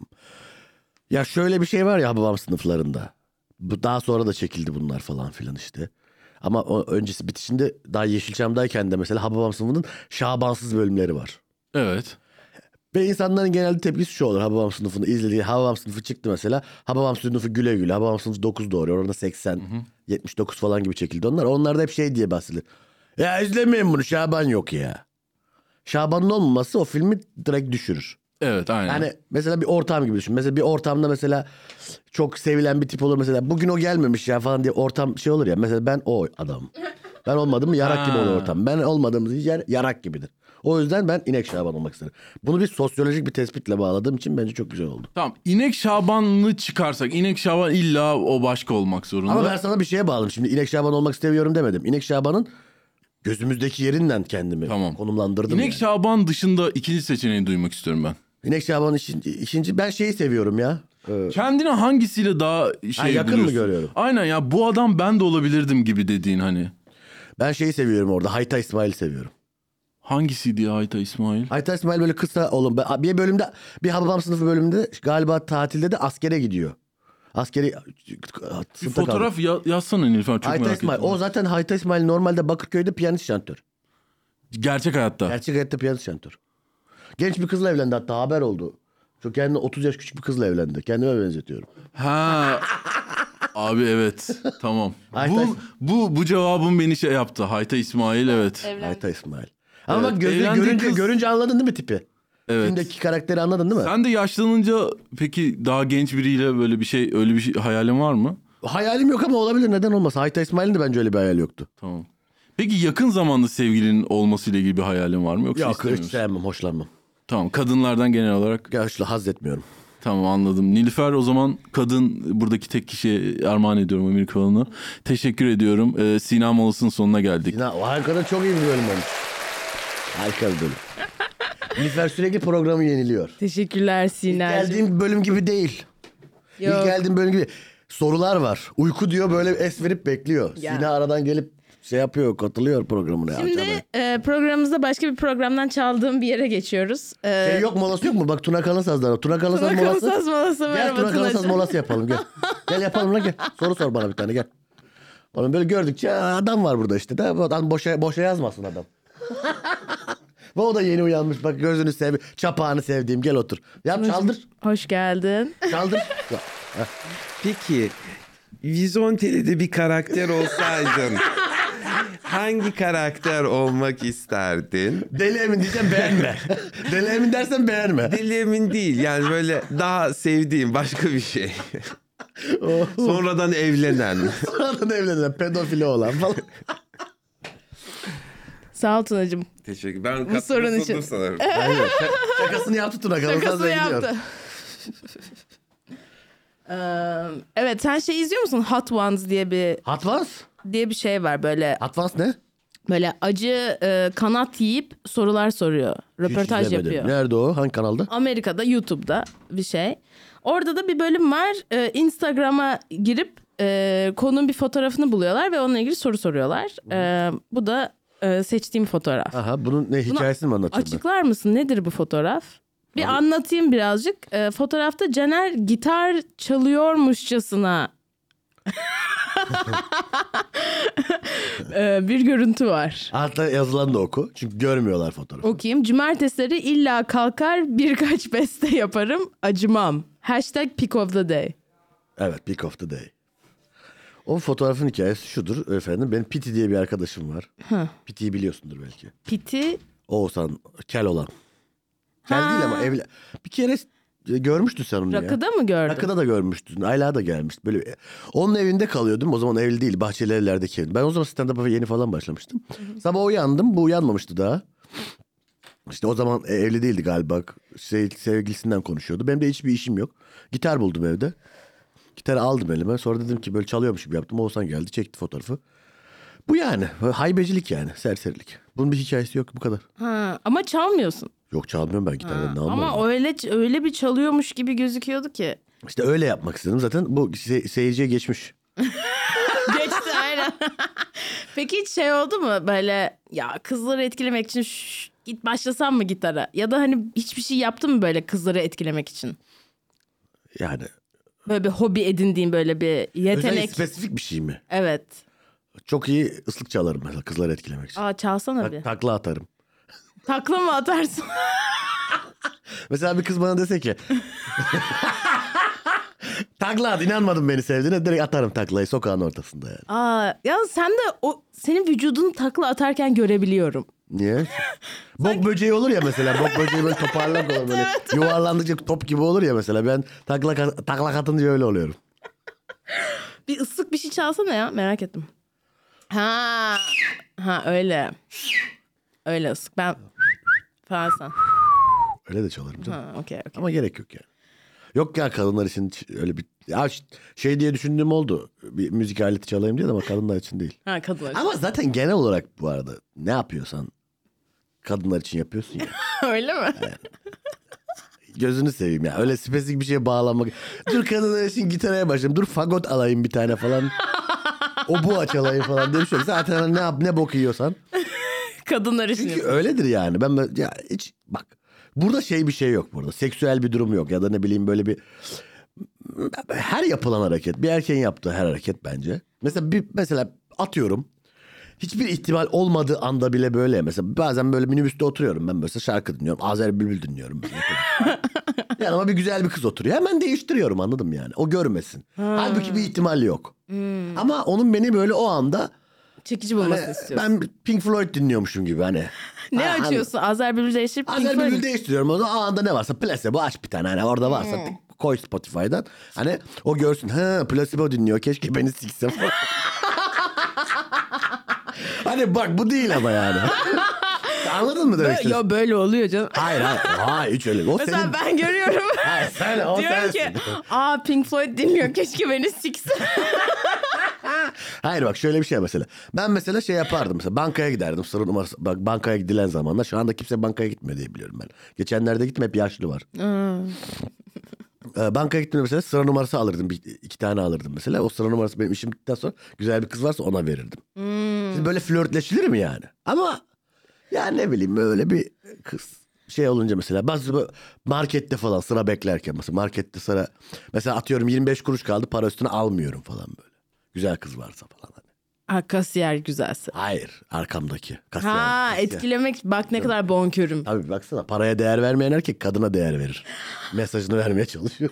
B: Ya şöyle bir şey var ya babam sınıflarında. Bu daha sonra da çekildi bunlar falan filan işte. Ama o öncesi bitişinde daha Yeşilçam'dayken de mesela Hababam sınıfının şabansız bölümleri var.
D: Evet.
B: Ve insanların genelde tepkisi şu olur. Hababam sınıfını izlediği Hababam sınıfı çıktı mesela. Hababam sınıfı güle güle. Hababam sınıfı 9 doğuruyor. Orada 80, 79 falan gibi çekildi onlar. Onlar da hep şey diye bahsedilir. Ya izlemeyin bunu Şaban yok ya. Şaban'ın olmaması o filmi direkt düşürür.
D: Evet aynen.
B: Yani Hani mesela bir ortam gibi düşün. Mesela bir ortamda mesela çok sevilen bir tip olur mesela. Bugün o gelmemiş ya falan diye ortam şey olur ya. Mesela ben o adamım. Ben olmadım mı yarak gibi
D: Ha.
B: olur ortam. Ben olmadığımız yer yarak gibidir. O yüzden ben inek şaban olmak isterim. Bunu bir sosyolojik bir tespitle bağladığım için bence çok güzel oldu.
D: Tamam İnek Şaban'ı çıkarsak İnek Şaban illa o başka olmak zorunda.
B: Ama ben sana bir şeye bağladım. Şimdi inek şaban olmak istemiyorum demedim. İnek şabanın gözümüzdeki yerinden kendimi
D: Tamam.
B: konumlandırdım.
D: İnek
B: yani.
D: Şaban dışında ikinci seçeneği duymak istiyorum ben.
B: İnek şabanın işin- işinci ben şeyi seviyorum ya. Ee,
D: Kendini hangisiyle daha şey
B: yakın mı
D: buluyorsun?
B: görüyorum?
D: Aynen ya bu adam ben de olabilirdim gibi dediğin hani.
B: ben şeyi seviyorum orada. Hayta İsmail'i seviyorum.
D: Hangisiydi ya Ayta İsmail?
B: Aytaç İsmail böyle kısa oğlum. Ben- Bir bölümde bir Hababam sınıfı bölümünde galiba tatilde de askere gidiyor. Askeri
D: Bir
B: sınıfta kaldı.
D: fotoğraf ya, yazsana Nilüfer çok
B: Hayta
D: merak ettim.
B: İsmail. O zaten Hayta İsmail normalde Bakırköy'de piyanist şantör.
D: Gerçek hayatta.
B: Gerçek hayatta piyanist şantör. Genç bir kızla evlendi hatta haber oldu. Çok kendine 30 yaş küçük bir kızla evlendi. Kendime benzetiyorum.
D: Ha. Abi evet. Tamam.
B: Ayta
D: bu,
B: İsmail.
D: bu bu cevabım beni şey yaptı. Hayta İsmail evet. Evet.
B: Hayta İsmail. Ama
D: Evet,
B: bak gözle
D: evlendiği
B: görünce,
D: kız-
B: görünce anladın değil mi tipi? Filmdeki karakteri anladın değil mi?
D: Sen de yaşlanınca peki daha genç biriyle böyle bir şey öyle bir şey, hayalin var mı?
B: Hayalim yok ama olabilir neden olmasın. Hayta İsmail'in de bence öyle bir hayali yoktu.
D: Tamam. Peki yakın zamanda sevgilinin olmasıyla ilgili bir hayalin var mı yoksa
B: Yok
D: istemiyor
B: hiç
D: musun?
B: sevmem hoşlanmam.
D: Tamam kadınlardan genel olarak
B: Gerçi haz etmiyorum.
D: tamam anladım. Nilüfer o zaman kadın buradaki tek kişiye armağan ediyorum Amir Kalan'a. Teşekkür ediyorum. Ee, Sina Molası'nın sonuna geldik.
B: Ya, o harikada çok iyi bir bölüm olmuş. Harika bir bölüm. Nilüfer sürekli programı yeniliyor.
A: Teşekkürler Siner'cim.
B: Geldiğim bölüm gibi değil. İlk
A: Yok.
B: geldiğim bölüm gibi. Sorular var. Uyku diyor böyle es verip bekliyor.
A: Ya.
B: Sina aradan gelip şey yapıyor, katılıyor programına.
A: Şimdi e, programımızda başka bir programdan çaldığım bir yere geçiyoruz. E,
B: şey yok molası yok mu? Bak Tuna Kalın Saz'dan. Tuna Kalın Saz
A: Tuna
B: molası.
A: Kalasaz molası
B: Gel
A: merhaba
B: Tuna Kalın Saz
A: Tunacığım.
B: molası yapalım gel. gel yapalım lan gel. Soru sor bana bir tane gel. Oğlum böyle gördükçe "Aa, adam var burada işte. De, bu adam boşa, boşa yazmasın adam. Ve o da yeni uyanmış. Bak gözünü sev, çapağını sevdiğim. Gel otur. Yap çaldır.
A: Hoş geldin.
B: Çaldır.
E: Peki Vizonteli'de bir karakter olsaydın hangi karakter olmak isterdin?
B: Deli Emin diyeceğim beğenme. Deli Emin dersen beğenme.
E: Deli emin değil yani böyle daha sevdiğim başka bir şey. Sonradan evlenen.
B: Sonradan evlenen pedofili olan falan.
A: Sağ ol Tunacığım.
E: Teşekkür Ben
A: Bu sorun için.
E: katıldım sanırım.
B: Aynen. Şakasını yaptı Tuna Kalın.
A: Şakasını
B: Saz da gidiyor.
A: yaptı. Ee, evet sen şey izliyor musun? Hot Ones diye bir
B: Hatvans?
A: diye bir şey var böyle
B: Hatvans ne?
A: böyle acı e, kanat yiyip sorular soruyor.
B: Hiç
A: Röportaj
B: izlemedim.
A: yapıyor.
B: Nerede o? Hangi kanalda?
A: Amerika'da YouTube'da bir şey. Orada da bir bölüm var. Ee, Instagram'a girip e, konunun bir fotoğrafını buluyorlar ve onunla ilgili soru soruyorlar. Ee, bu da e, seçtiğim fotoğraf.
B: Aha bunun ne hikayesini mi anlatıyordu?
A: Açıklar mısın nedir bu fotoğraf? Bir anlatayım birazcık. E, fotoğrafta Caner gitar çalıyormuşçasına e, bir görüntü var.
B: Altta yazılan da oku. Çünkü görmüyorlar fotoğrafı.
A: Okuyayım. Cumartesileri illa kalkar birkaç beste yaparım acımam. Hashtag pick of the day.
B: Evet Peak of the Day. O fotoğrafın hikayesi şudur efendim. Benim Piti diye bir arkadaşım var. Piti'yi biliyorsundur belki.
A: Piti
B: Oğuzhan, kel olan. Kel
A: Ha.
B: değil ama evli. Bir kere e, görmüştün sen onu ya.
A: rakıda mı gördün?
B: Rakıda da görmüştün. Ayla da gelmişti. Böyle bir- onun evinde kalıyordum. O zaman evli değil. Bahçeli evlerdeki evim. Ben o zaman stand-up'a yeni falan başlamıştım. Sabah uyandım. Bu uyanmamıştı daha. İşte o zaman e, evli değildi galiba. Şey, sevgilisinden konuşuyordu. Benim de hiçbir işim yok. Gitar buldum evde. Gitarı aldım elime. Sonra dedim ki böyle çalıyormuş gibi yaptım. Oğuzhan geldi çekti fotoğrafı. Bu yani. Haybecilik yani. Serserilik. Bunun bir hikayesi yok. Bu kadar.
A: Ha, ama çalmıyorsun.
B: Yok çalmıyorum ben gitardan. Ne anlarım?
A: Ama öyle öyle bir çalıyormuş gibi gözüküyordu ki.
B: İşte öyle yapmak istedim. Zaten bu se- seyirciye geçmiş.
A: Geçti aynen. Peki hiç şey oldu mu böyle ya kızları etkilemek için şş, git başlasam mı gitara? Ya da hani hiçbir şey yaptın mı böyle kızları etkilemek için?
B: Yani
A: Böyle bir hobi edindiğin böyle bir
B: Özel
A: yetenek.
B: spesifik bir şey mi?
A: Evet.
B: Çok iyi ıslık çalarım mesela kızları etkilemek için.
A: Aa çalsana bir.
B: Tak- takla atarım.
A: Takla mı atarsın?
B: Mesela bir kız bana dese ki... takla at inanmadım beni sevdiğine direkt atarım taklayı sokağın ortasında yani.
A: Aa ya sen de o senin vücudunu takla atarken görebiliyorum.
B: Niye? bok böceği olur ya mesela bok böceği böyle toparlak olur böyle yuvarlandıkça top gibi olur ya mesela ben takla, ka- takla atınca öyle oluyorum.
A: Bir ıslık bir şey çalsana ya merak ettim. Ha ha öyle. Öyle ıslık ben falan sen.
B: Öyle de çalarım canım.
A: Ha okey okey.
B: Ama gerek yok yani. Yok ya kadınlar için hiç öyle bir... Ya ş- şey diye düşündüğüm oldu. Bir müzik aleti çalayım diye de ama kadınlar için değil.
A: Ha kadınlar.
B: Ama zaten genel olarak bu arada ne yapıyorsan kadınlar için yapıyorsun ya.
A: öyle mi?
B: Gözünü seveyim ya. Öyle spesifik bir şeye bağlanmak. Dur kadınlar için gitaraya başlayayım. Dur fagot alayım bir tane falan. o bu çalayım falan diye bir şey yok. Zaten ne yap ne bok yiyorsan.
A: Kadınlar için.
B: Çünkü
A: yapıyor.
B: öyledir yani. Ben böyle- ya hiç bak. Burada şey bir şey yok burada. Seksüel bir durum yok ya da ne bileyim böyle bir her yapılan hareket bir erkeğin yaptığı her hareket bence. Mesela bir mesela atıyorum hiçbir ihtimal olmadığı anda bile böyle mesela bazen böyle minibüste oturuyorum ben mesela şarkı dinliyorum Azer Bülbül dinliyorum ben. yani ama bir güzel bir kız oturuyor hemen değiştiriyorum anladım yani o görmesin. Halbuki bir ihtimal yok. Ama onun beni böyle o anda
A: Çekici bulmasını
B: Hani
A: istiyorsun.
B: Ben Pink Floyd dinliyormuşum gibi hani.
A: ne
B: Ha, hani-
A: açıyorsun? Azer Bülbül değiştirip Pink
B: Azer
A: Floyd-
B: Bülbül değiştiriyorum. O zaman o anda ne varsa Placebo aç bir tane. Hani orada varsa
A: Hmm.
B: tık, koy Spotify'dan. Hani o görsün. Ha Placebo dinliyor. Keşke beni sikse falan. hani bak bu değil ama yani. Anladın mı demek
A: Böyle-
B: istediğimi?
A: Ya böyle oluyor canım.
B: Hayır hayır. Hayır hiç öyle. O
A: Mesela
B: senin...
A: ben görüyorum.
B: Hayır sen o
A: Diyorum ki
B: sensin.
A: aa Pink Floyd dinliyor keşke beni sikse.
B: Hayır bak şöyle bir şey mesela. Ben mesela şey yapardım mesela bankaya giderdim sıra numarası. Bak bankaya gidilen zamanlar şu anda kimse bankaya gitmiyor diye biliyorum ben. Geçenlerde gittim hep yaşlı var. Ee, bankaya gittim mesela sıra numarası alırdım. Bir, iki tane alırdım mesela. O sıra numarası benim işim bittikten sonra güzel bir kız varsa ona verirdim. Şimdi böyle flörtleşilir mi yani? Ama ya ne bileyim böyle bir kız şey olunca mesela bazı bu- markette falan sıra beklerken mesela markette sıra mesela atıyorum 25 kuruş kaldı para üstüne almıyorum falan böyle. Güzel kız varsa falan hani.
A: ha kasiyer güzelse.
B: Hayır arkamdaki. Kasiyer,
A: Ha
B: kasiyer.
A: etkilemek bak ne kadar bonkörüm.
B: Abi baksana paraya değer vermeyen erkek kadına değer verir. Mesajını vermeye çalışıyor.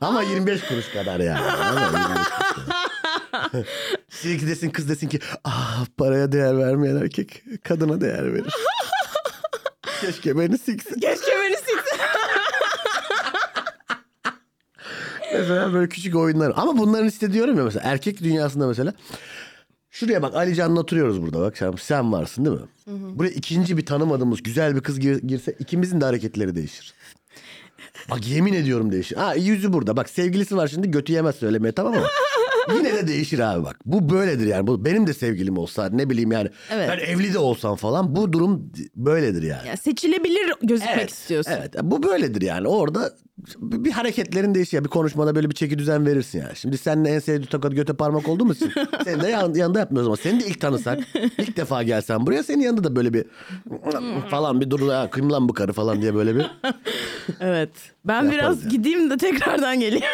B: Ama 25 kuruş kadar yani. Ama 25 kuruş kadar. Sürekli desin kız desin ki ah paraya değer vermeyen erkek kadına değer verir. Keşke beni siksin.
A: Keşke beni sikse.
B: Mesela böyle küçük oyunlar. Ama bunların işte diyorum ya mesela erkek dünyasında mesela. Şuraya bak Ali Can'la oturuyoruz burada bak sen, sen varsın değil mi? Buraya ikinci bir tanımadığımız güzel bir kız gir- girse ikimizin de hareketleri değişir. Bak yemin ediyorum değişir. Ha yüzü burada bak sevgilisi var şimdi götü yemez söylemeye tamam mı? Yine de değişir abi bak. Bu böyledir yani. Bu benim de sevgilim olsa ne bileyim yani.
A: Evet.
B: Ben evli de olsam falan bu durum böyledir yani.
A: Ya seçilebilir gözükmek
B: Evet,
A: istiyorsun.
B: Evet. Bu böyledir yani. Orada bir hareketlerin değişiyor. Bir konuşmada böyle bir çeki düzen verirsin yani. Şimdi seninle en sevdiği tokat göte parmak olduğumuz için seni de yan- yanında yapmıyoruz ama seni de ilk tanısak ilk defa gelsen buraya senin yanında da böyle bir falan bir dur ya kim lan bu karı falan diye böyle bir
A: Evet. Ben biraz
B: yani.
A: gideyim de tekrardan geleyim.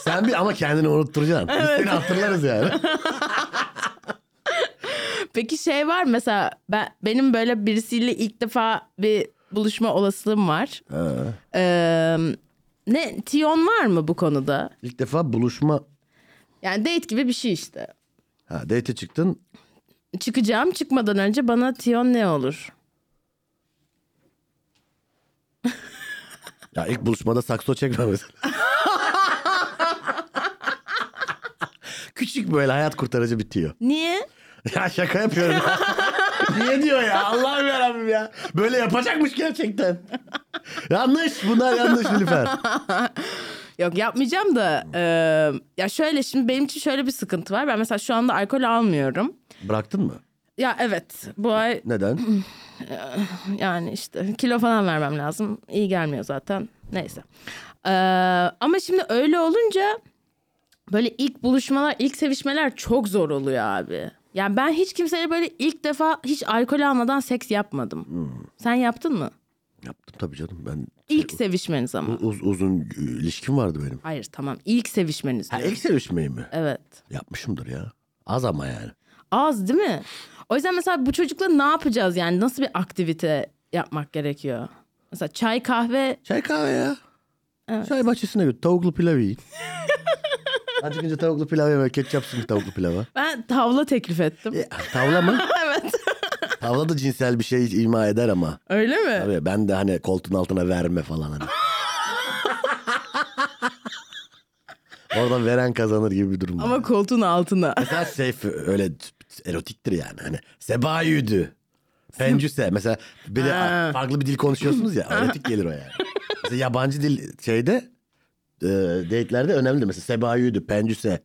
B: sen bir ama kendini unutturacaksın. Biz seni hatırlarız yani.
A: Peki şey var mı? mesela ben benim böyle birisiyle ilk defa bir buluşma olasılığım var. Ee, ne Tion var mı bu konuda?
B: İlk defa buluşma
A: Yani date gibi bir şey işte.
B: ha date çıktın.
A: Çıkacağım çıkmadan önce bana Tion ne olur?
B: Ya ilk buluşmada sakso çekme mesela. Küçük böyle hayat kurtarıcı bitiyor.
A: Niye?
B: Ya şaka yapıyorum ya. Niye diyor ya? Allah'ım yarabbim ya. Böyle yapacakmış gerçekten. yanlış. Bunlar yanlış Nilüfer.
A: Yok yapmayacağım da e, ya şöyle şimdi benim için şöyle bir sıkıntı var. Ben mesela şu anda alkol almıyorum.
B: Bıraktın mı?
A: Ya evet bu ay
B: Neden?
A: yani işte kilo falan vermem lazım. İyi gelmiyor zaten. Neyse. Ee, ama şimdi öyle olunca böyle ilk buluşmalar, ilk sevişmeler çok zor oluyor abi. Yani ben hiç kimseyle böyle ilk defa hiç alkol almadan seks yapmadım.
B: Hmm.
A: Sen yaptın mı?
B: Yaptım tabii canım. Ben
A: İlk sevişmeniz ama.
B: uz- uzun e, ilişkim vardı benim.
A: Hayır tamam ilk sevişmeniz.
B: Ha,
A: diyorum.
B: ilk sevişmeyi mi?
A: Evet.
B: Yapmışımdır ya. Az ama yani.
A: Az değil mi? O yüzden mesela bu çocukla ne yapacağız yani? Nasıl bir aktivite yapmak gerekiyor? Mesela çay kahve
B: Çay kahve ya. Çay bahçesine götür. Tavuklu pilav yiyin. Acıkınca tavuklu pilav yeme. Ketçap sürün tavuklu pilava.
A: ben tavla teklif ettim.
B: E, tavla mı?
A: evet.
B: tavla da cinsel bir şey ima eder ama.
A: Öyle mi?
B: Tabii ben de hani koltuğun altına verme falan hani. Oradan veren kazanır gibi bir durum var.
A: Ama koltuğun altına.
B: Mesela Seyf öyle erotiktir yani. Hani Seba yürüdü. Pencüse. Mesela bir de
A: Ha.
B: farklı bir dil konuşuyorsunuz ya. Erotik gelir o yani. Mesela yabancı dil şeyde e, date'lerde önemlidir. Mesela Seba yürüdü. Pencüse.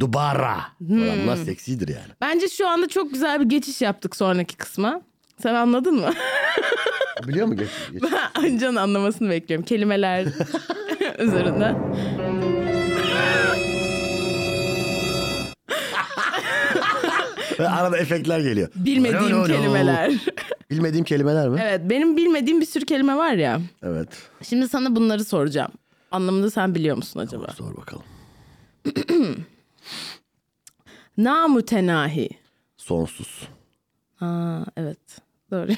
B: Dubara. Falan.
A: Hmm.
B: Bunlar seksidir yani.
A: Bence şu anda çok güzel bir geçiş yaptık sonraki kısma. Sen anladın mı?
B: Biliyor musun? Geç, geç.
A: Can anlamasını bekliyorum. Kelimeler üzerinde.
B: Ve arada efektler geliyor.
A: Bilmediğim
B: No, no, no.
A: kelimeler.
B: Bilmediğim kelimeler mi?
A: evet benim bilmediğim bir sürü kelime var ya.
B: evet.
A: Şimdi sana bunları soracağım. Anlamında sen biliyor musun acaba?
B: Sor bakalım.
A: Namutenahi.
B: Sonsuz.
A: Ha evet. Doğru.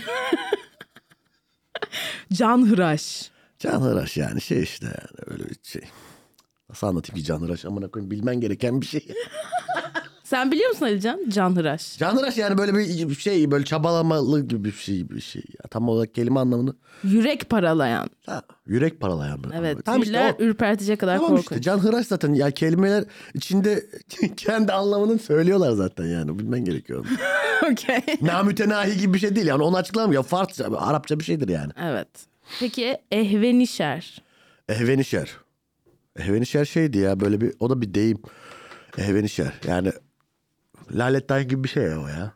A: Canhıraş.
B: Canhıraş yani şey işte yani öyle bir şey. Nasıl anlatayım ki canhıraş amına koyayım bilmen gereken bir şey.
A: Sen biliyor musun Alican? Canhıraş.
B: Canhıraş yani böyle bir şey böyle çabalamalı gibi bir şey bir şey. Ya, tam olarak kelime anlamını.
A: Yürek paralayan.
B: Ha, yürek paralayan bir
A: Evet.
B: Tam işte
A: tüyler
B: o.
A: ürpertecek kadar
B: Tamam
A: korkunç.
B: işte canhıraş zaten ya kelimeler içinde kendi anlamını söylüyorlar zaten yani bilmen gerekiyor.
A: Okey.
B: Namütenahi gibi bir şey değil yani onu açıklamıyor. Farsça, Arapça bir şeydir yani.
A: Evet. Peki ehvenişer.
B: Ehvenişer. Ehvenişer şeydi ya böyle bir o da bir deyim. Ehvenişer yani lalettayn gibi bir şey ya o ya.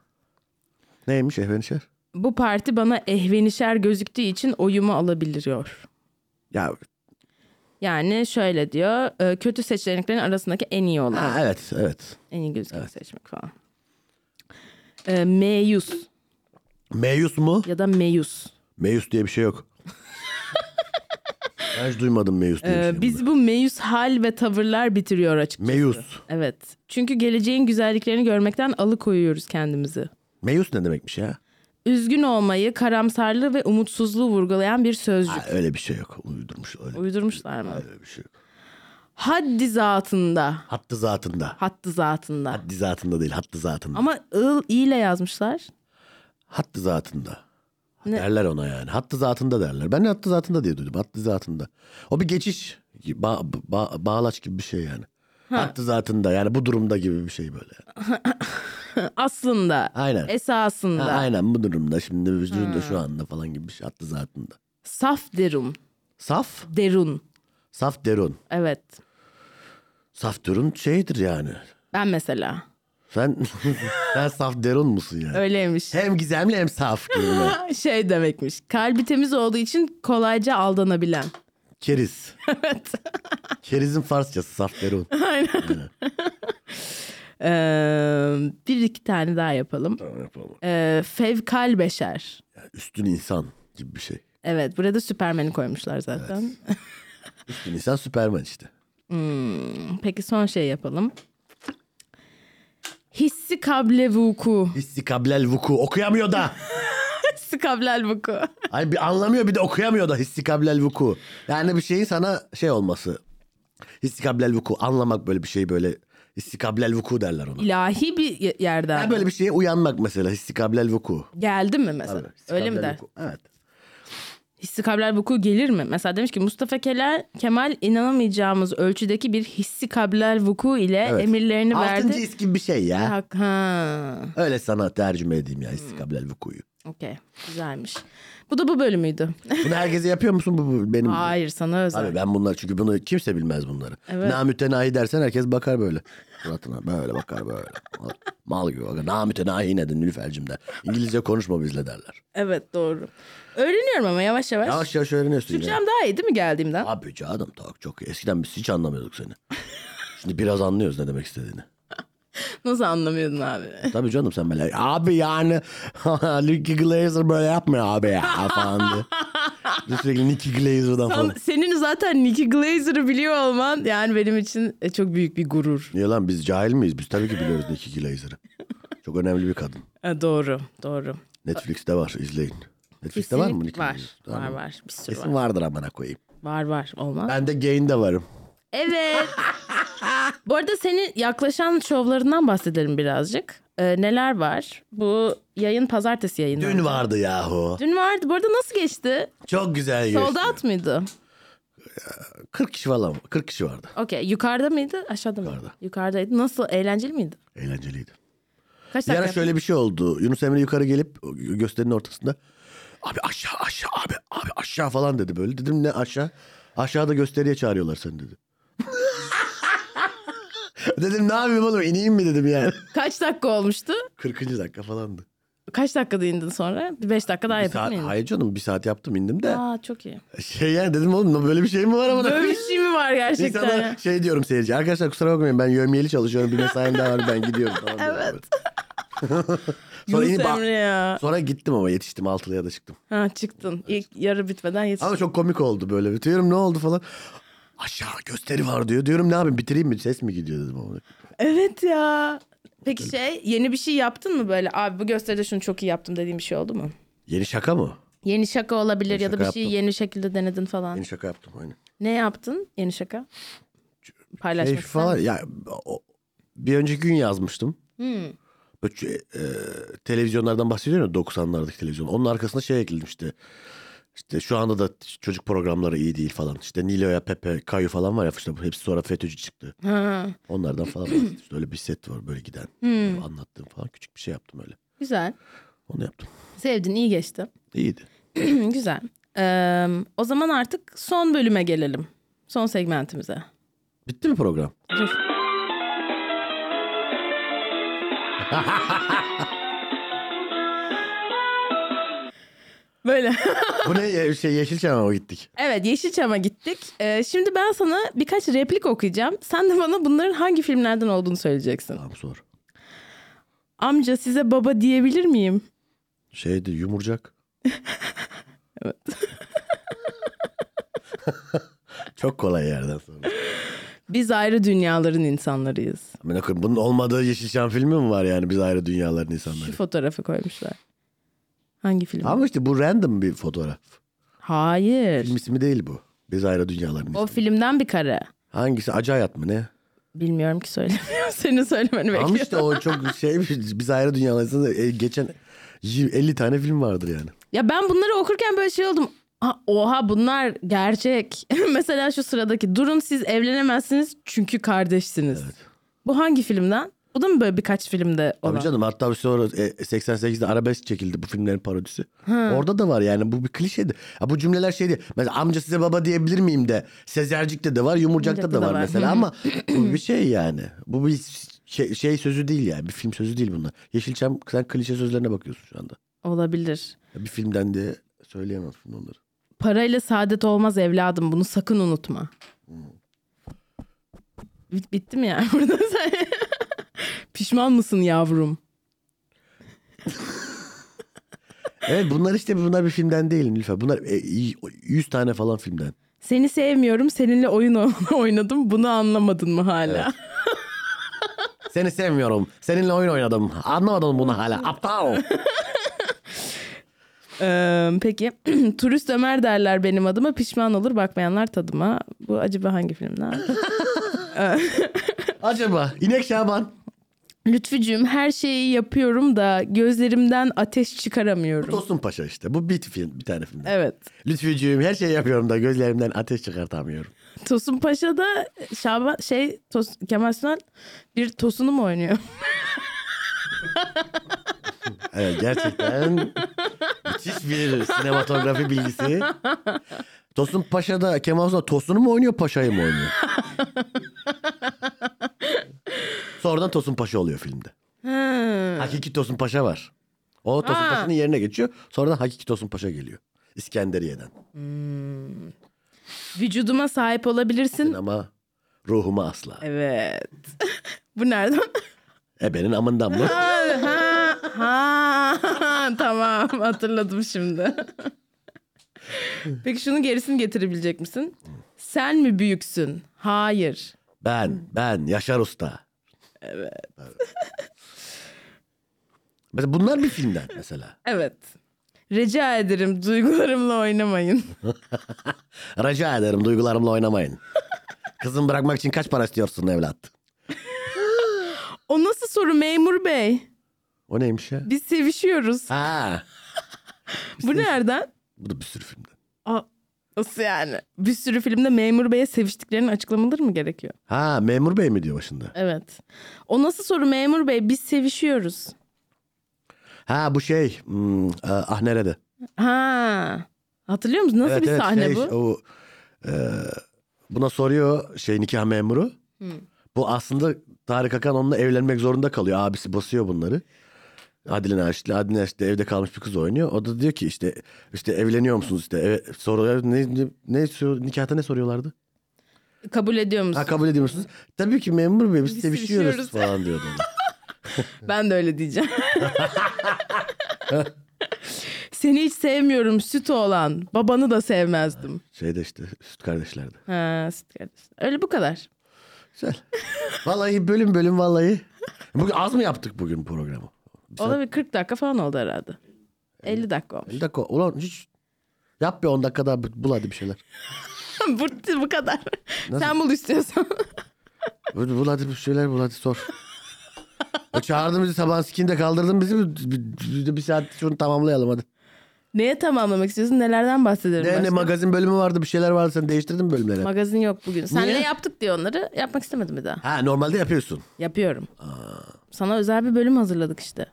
B: Neymiş ehvenişer?
A: Bu parti bana ehvenişer gözüktüğü için oyumu alabiliyor.
B: Ya
A: Yani şöyle diyor, e, kötü seçeneklerin arasındaki en iyi olan,
B: ha, evet evet.
A: en iyi gözükeni seçmek falan. E, meyus
B: Meyus mu?
A: ya da meyus. E,
B: Meyus diye bir şey yok. ben hiç duymadım meyus diye
A: E,
B: bir şey.
A: biz bu meyus hal ve tavırlar bitiriyor açıkçası.
B: Meyus.
A: Evet. Çünkü geleceğin güzelliklerini görmekten alıkoyuyoruz kendimizi.
B: Meyus ne demekmiş ya?
A: Üzgün olmayı, karamsarlığı ve umutsuzluğu vurgulayan bir sözcük.
B: Ha, öyle bir şey yok. Uydurmuş öyle.
A: Uydurmuşlar mı?
B: öyle bir şey yok.
A: Haddi zatında.
B: Hattı zatında.
A: Hattı zatında.
B: Haddi zatında değil hattı zatında.
A: Ama ıl ile yazmışlar.
B: Hattı zatında.
A: Ne?
B: Derler ona yani. Hattı zatında derler. Ben de hattı zatında diye duydum. Hattı zatında. O bir geçiş. Ba- ba- bağlaç gibi bir şey yani. Hattı zatında yani bu durumda gibi bir şey böyle.
A: Aslında.
B: Aynen. Ha,
A: Esasında.
B: aynen bu durumda şimdi bu durumda şu anda falan gibi bir şey. Hattı zatında.
A: Saf derun.
B: Saf.
A: Derun.
B: Saf derun.
A: Evet.
B: Saf derun şeydir yani.
A: Ben mesela.
B: Sen, sen saf derun musun yani?
A: Öyleymiş.
B: Hem gizemli hem saf gibi.
A: Şey demekmiş. Kalbi temiz olduğu için kolayca aldanabilen.
B: Keriz.
A: Evet.
B: Kerizin Farsçası safterun.
A: Aynen. Ee, bir iki tane daha yapalım.
B: Yapalım.
A: Ee, fevkal beşer.
B: Üstün insan gibi bir şey.
A: Evet burada Süpermen'i koymuşlar zaten.
B: Üstün insan Süperman işte.
A: Peki son şey yapalım. Hissi kable vuku.
B: Hissi kablel vuku okuyamıyor da.
A: Hissi kablel vuku.
B: Ay bir anlamıyor bir de okuyamıyor da hissi kablel vuku. Yani bir şeyin sana şey olması. Hissi kablel vuku anlamak böyle bir şey böyle. Hissi kablel vuku derler ona.
A: İlahi bir ye- yerden.
B: Yani böyle bir şeye uyanmak mesela hissi kablel vuku.
A: Geldi mi mesela?
B: Hissi
A: Öyle mi
B: kablel
A: der?
B: vuku. Evet.
A: Hissi kablel vuku gelir mi? Mesela demiş ki Mustafa Kemal, Kemal inanamayacağımız ölçüdeki bir hissi kablel vuku ile
B: Evet.
A: emirlerini
B: Altıncı
A: verdi.
B: his gibi bir şey ya.
A: Hak- Ha,
B: Öyle sana tercüme edeyim ya hissi
A: Hmm.
B: kablel vukuyu.
A: okey. Güzelmiş. Bu da bu bölümüydü.
B: Bunu herkese yapıyor musun? Bu, bu benim.
A: Hayır sana özel.
B: Abi ben bunlar çünkü bunu kimse bilmez bunları.
A: Evet.
B: Namütenahi dersen herkes bakar böyle. Suratına böyle bakar böyle. Mal, mal gibi bakar. Namütenahi nedir Nilüfer'cim der. İngilizce konuşma bizle derler.
A: Evet doğru. Öğreniyorum ama yavaş yavaş.
B: Yavaş yavaş öğreniyorsun ya.
A: Türkçem daha iyi değil mi geldiğimden?
B: Abi canım tak çok iyi. Eskiden biz hiç anlamıyorduk seni. Şimdi biraz anlıyoruz ne demek istediğini.
A: Nasıl anlamıyordun abi?
B: Tabii canım sen böyle abi yani Nicky Glazer böyle yapmıyor abi ya falan diye. Biz Sürekli Nicky Glazer'dan
A: Tam
B: falan.
A: senin zaten Nicky Glazer'ı biliyor olman yani benim için e, çok büyük bir gurur.
B: Niye lan biz cahil miyiz? Biz tabii ki biliyoruz Nicky Glazer'ı. Çok önemli bir kadın.
A: E, doğru, doğru.
B: Netflix'te var izleyin. Netflix'te var mı?
A: Kesinlikle
B: Nicky
A: Var,
B: Glazer? Tamam.
A: var, var. Bir sürü
B: Kesin
A: var.
B: vardır amına koyayım.
A: Var, var. Olmaz.
B: Ben de Gain'de varım.
A: Evet. Bu arada senin yaklaşan şovlarından bahsedelim birazcık. E, neler var? Bu yayın pazartesi yayını.
B: Dün vardı yahu.
A: Dün vardı. Bu arada nasıl geçti?
B: Çok güzel geçti.
A: Sold out mıydı?
B: 40 kişi falan 40 kişi vardı.
A: Okey. Yukarıda mıydı? Aşağıda mı?
B: Yukarıda.
A: Yukarıdaydı. Nasıl? Eğlenceli miydi?
B: Eğlenceliydi.
A: Kaç
B: Bir
A: dakika?
B: ara şöyle bir şey oldu. Yunus Emre yukarı gelip gösterinin ortasında abi aşağı aşağı abi abi aşağı falan dedi böyle. Dedim ne aşağı? Aşağıda gösteriye çağırıyorlar seni dedi. dedim ne yapayım oğlum ineyim mi dedim yani.
A: Kaç dakika olmuştu?
B: 40. dakika falandı.
A: Kaç dakada indin sonra? Bir beş dakika daha
B: Bir
A: yapayım
B: saat,
A: mı indin?
B: hayır canım bir saat yaptım indim de.
A: Aa çok iyi.
B: Şey yani dedim oğlum böyle bir şey mi var ama.
A: Böyle bir şey mi var gerçekten? ya?
B: İnsana şey diyorum seyirci. Arkadaşlar kusura bakmayın ben yövmiyeli çalışıyorum. Bir mesaim daha var ben gidiyorum. Tamam diyorum
A: Evet.
B: böyle. sonra,
A: Yunus
B: inip,
A: Emre ya.
B: sonra gittim ama yetiştim altılıya da çıktım.
A: Ha çıktın. İlk yarı bitmeden yetiştin.
B: Ama çok komik oldu böyle. Bir Diyorum ne oldu falan. Aşağı gösteri var diyor. Diyorum ne yapayım bitireyim mi? Ses mi gidiyor dedim. Ama.
A: Evet ya. Peki şey yeni bir şey yaptın mı böyle? Abi bu gösteride şunu çok iyi yaptım dediğin bir şey oldu mu?
B: Yeni şaka mı?
A: Yeni şaka olabilir
B: Yeni
A: ya da
B: şaka
A: bir şeyi
B: yaptım.
A: yeni şekilde denedin falan.
B: Yeni şaka yaptım aynen.
A: Ne yaptın yeni şaka?
B: Şey
A: Paylaşmak ister
B: falan
A: misin?
B: ya o- bir önceki gün yazmıştım.
A: Hmm.
B: Böyle çö- e, televizyonlardan bahsediyorum ya 90'lardaki televizyon. Onun arkasına şey ekledim işte. İşte şu anda da çocuk programları iyi değil falan. İşte Nilo'ya, Pepe, Kayu falan var ya işte hepsi sonra FETÖ'cü çıktı.
A: Hmm. Ha,
B: Onlardan falan bahsediyorum. İşte öyle bir set var böyle giden.
A: Hmm.
B: Böyle anlattığım falan küçük bir şey yaptım öyle.
A: güzel.
B: Onu yaptım.
A: Sevdin iyi geçti.
B: İyiydi.
A: güzel. Ee, o zaman artık son bölüme gelelim. Son segmentimize.
B: Bitti mi program?
A: Dur. Böyle.
B: Bu ne ya, şey Yeşilçam'a mı gittik?
A: Evet Yeşilçam'a gittik. Ee, şimdi ben sana birkaç replik okuyacağım. Sen de bana bunların hangi filmlerden olduğunu söyleyeceksin.
B: Tamam sor.
A: Amca size baba diyebilir miyim?
B: Şeydi yumurcak.
A: Evet.
B: Çok kolay yerden sonra.
A: Biz ayrı dünyaların insanlarıyız.
B: Amına koyayım, bunun olmadığı Yeşilçam filmi mi var yani biz ayrı dünyaların
A: Şu
B: insanları?
A: fotoğrafı koymuşlar. Hangi film?
B: Ama işte bu random bir fotoğraf.
A: Hayır.
B: Film ismi değil bu. Biz ayrı dünyaların
A: O
B: insanları.
A: filmden bir kare.
B: Hangisi? Acı hayat mı ne?
A: Bilmiyorum ki söylemiyorum. Senin söylemeni bekliyorum.
B: Ama işte o çok şey biz ayrı dünyaların insanları. E, geçen 50 tane film vardır yani.
A: Ya ben bunları okurken böyle şey oldum. Ha, oha bunlar gerçek. Mesela şu sıradaki durun siz evlenemezsiniz çünkü kardeşsiniz. Bu hangi filmden? Bu da mı böyle birkaç filmde olan?
B: Tabii canım hatta bir sonra e, 88'de arabesk çekildi bu filmlerin parodisi. Orada da var yani bu bir klişedir. Ha, bu cümleler şey değil. Mesela amca size baba diyebilir miyim de. Sezercik'te de var yumurcakta da
A: Yumurcak'ta da
B: var,
A: var.
B: mesela ama bu bir şey yani. Bu bir şey, şey sözü değil yani bir film sözü değil bunlar. Yeşilçam sen klişe sözlerine bakıyorsun şu anda.
A: Olabilir.
B: Ya Bir filmden de söyleyemezsin onları.
A: Parayla saadet olmaz evladım bunu sakın unutma.
B: Hmm.
A: Bit- bitti mi yani burada sen? Pişman mısın yavrum?
B: Evet bunlar işte bunlar bir filmden değil Nilüfer. Bunlar e, y- 100 tane falan filmden.
A: Seni sevmiyorum seninle oyun o- oynadım bunu anlamadın mı hala?
B: Seni sevmiyorum. Seninle oyun oynadım. Anlamadın bunu hala. Aptal.
A: Ee, peki turist Ömer derler benim adıma pişman olur bakmayanlar tadıma. Bu acaba hangi filmden?
B: Acaba İnek Şaban.
A: Lütfücüğüm her şeyi yapıyorum da gözlerimden ateş çıkaramıyorum.
B: Dostum Paşa işte. Bu bir film bir tane filmden.
A: Evet.
B: Lütfücüğüm her şeyi yapıyorum da gözlerimden ateş çıkartamıyorum.
A: Tosun Paşa'da Şaban şey Tos, Kemal Sunal bir tosunu mu oynuyor?
B: Evet gerçekten müthiş bir sinematografi bilgisi. Tosun Paşa'da Kemal Sunal Tosun'u mu oynuyor Paşa'yı mı oynuyor? Sonradan Tosun Paşa oluyor filmde. Hakiki Tosun Paşa var. O Tosun
A: Ha.
B: Paşa'nın yerine geçiyor. Sonradan Hakiki Tosun Paşa geliyor. İskenderiye'den.
A: Vücuduma sahip olabilirsin.
B: Ama ruhuma asla.
A: Evet. Bu nereden?
B: Ebenin amından mı?
A: ha, ha, tamam hatırladım şimdi. Peki şunun gerisini getirebilecek misin? Sen mi büyüksün? Hayır.
B: Ben, ben, Yaşar Usta. Evet. mesela bunlar bir filmden mesela.
A: Evet. Rica ederim duygularımla oynamayın.
B: Rica ederim duygularımla oynamayın. Kızım bırakmak için kaç para istiyorsun evlat?
A: O nasıl soru memur bey?
B: O neymiş ya?
A: Biz sevişiyoruz.
B: Ha,
A: Bu nereden?
B: bu da bir sürü filmden.
A: Aa, nasıl yani? Bir sürü filmde memur beye seviştiklerinin açıklamaları mı gerekiyor?
B: Ha, memur bey mi diyor başında?
A: Evet. O nasıl soru memur bey? Biz sevişiyoruz.
B: Ha bu şey, hmm, e, ah nerede?
A: Ha. Hatırlıyor musun? Nasıl
B: Evet,
A: bir
B: evet,
A: sahne
B: şey,
A: bu?
B: O, e, buna soruyor şey nikah memuru. Bu aslında Tarık Akan onunla evlenmek zorunda kalıyor. Abisi basıyor bunları. Adile Naşit'le. Adile Naşit'le evde kalmış bir kız oynuyor. O da diyor ki işte işte evleniyor musunuz işte. Evet, soruyor ne, ne, ne sor- nikahta ne soruyorlardı?
A: Kabul ediyor musun?
B: Ha kabul ediyor musunuz? Tabii ki memur bey biz,
A: Biz
B: sevişiyoruz
A: sevişiyoruz.
B: falan diyordu.
A: Ben de öyle diyeceğim. Seni hiç sevmiyorum süt olan. Babanı da sevmezdim.
B: Şeyde işte süt kardeşlerde.
A: Ha, süt kardeş. Öyle bu kadar.
B: Güzel. Vallahi bölüm bölüm vallahi. Bugün az mı yaptık bugün programı?
A: Ola bir 40 dakika falan oldu herhalde. 50 dakika olmuş.
B: 50 dakika. Ulan hiç yap bir 10 dakika daha bul hadi bir şeyler.
A: bu, bu kadar. Sen bul istiyorsan.
B: Bul, bul hadi bir şeyler bul hadi sor. O çağırdın bizi sabahın sikinde kaldırdın bizi bir, bir- bir- bir saat şunu tamamlayalım hadi.
A: Neye tamamlamak istiyorsun? Nelerden bahsedelim?
B: Ne, ne
A: başka?
B: magazin bölümü vardı bir şeyler vardı sen değiştirdin mi bölümleri?
A: Magazin yok bugün. Senle
B: Niye?
A: yaptık diye onları. Yapmak istemedim bir daha.
B: ha normalde yapıyorsun.
A: Yapıyorum. Sana özel bir bölüm hazırladık işte.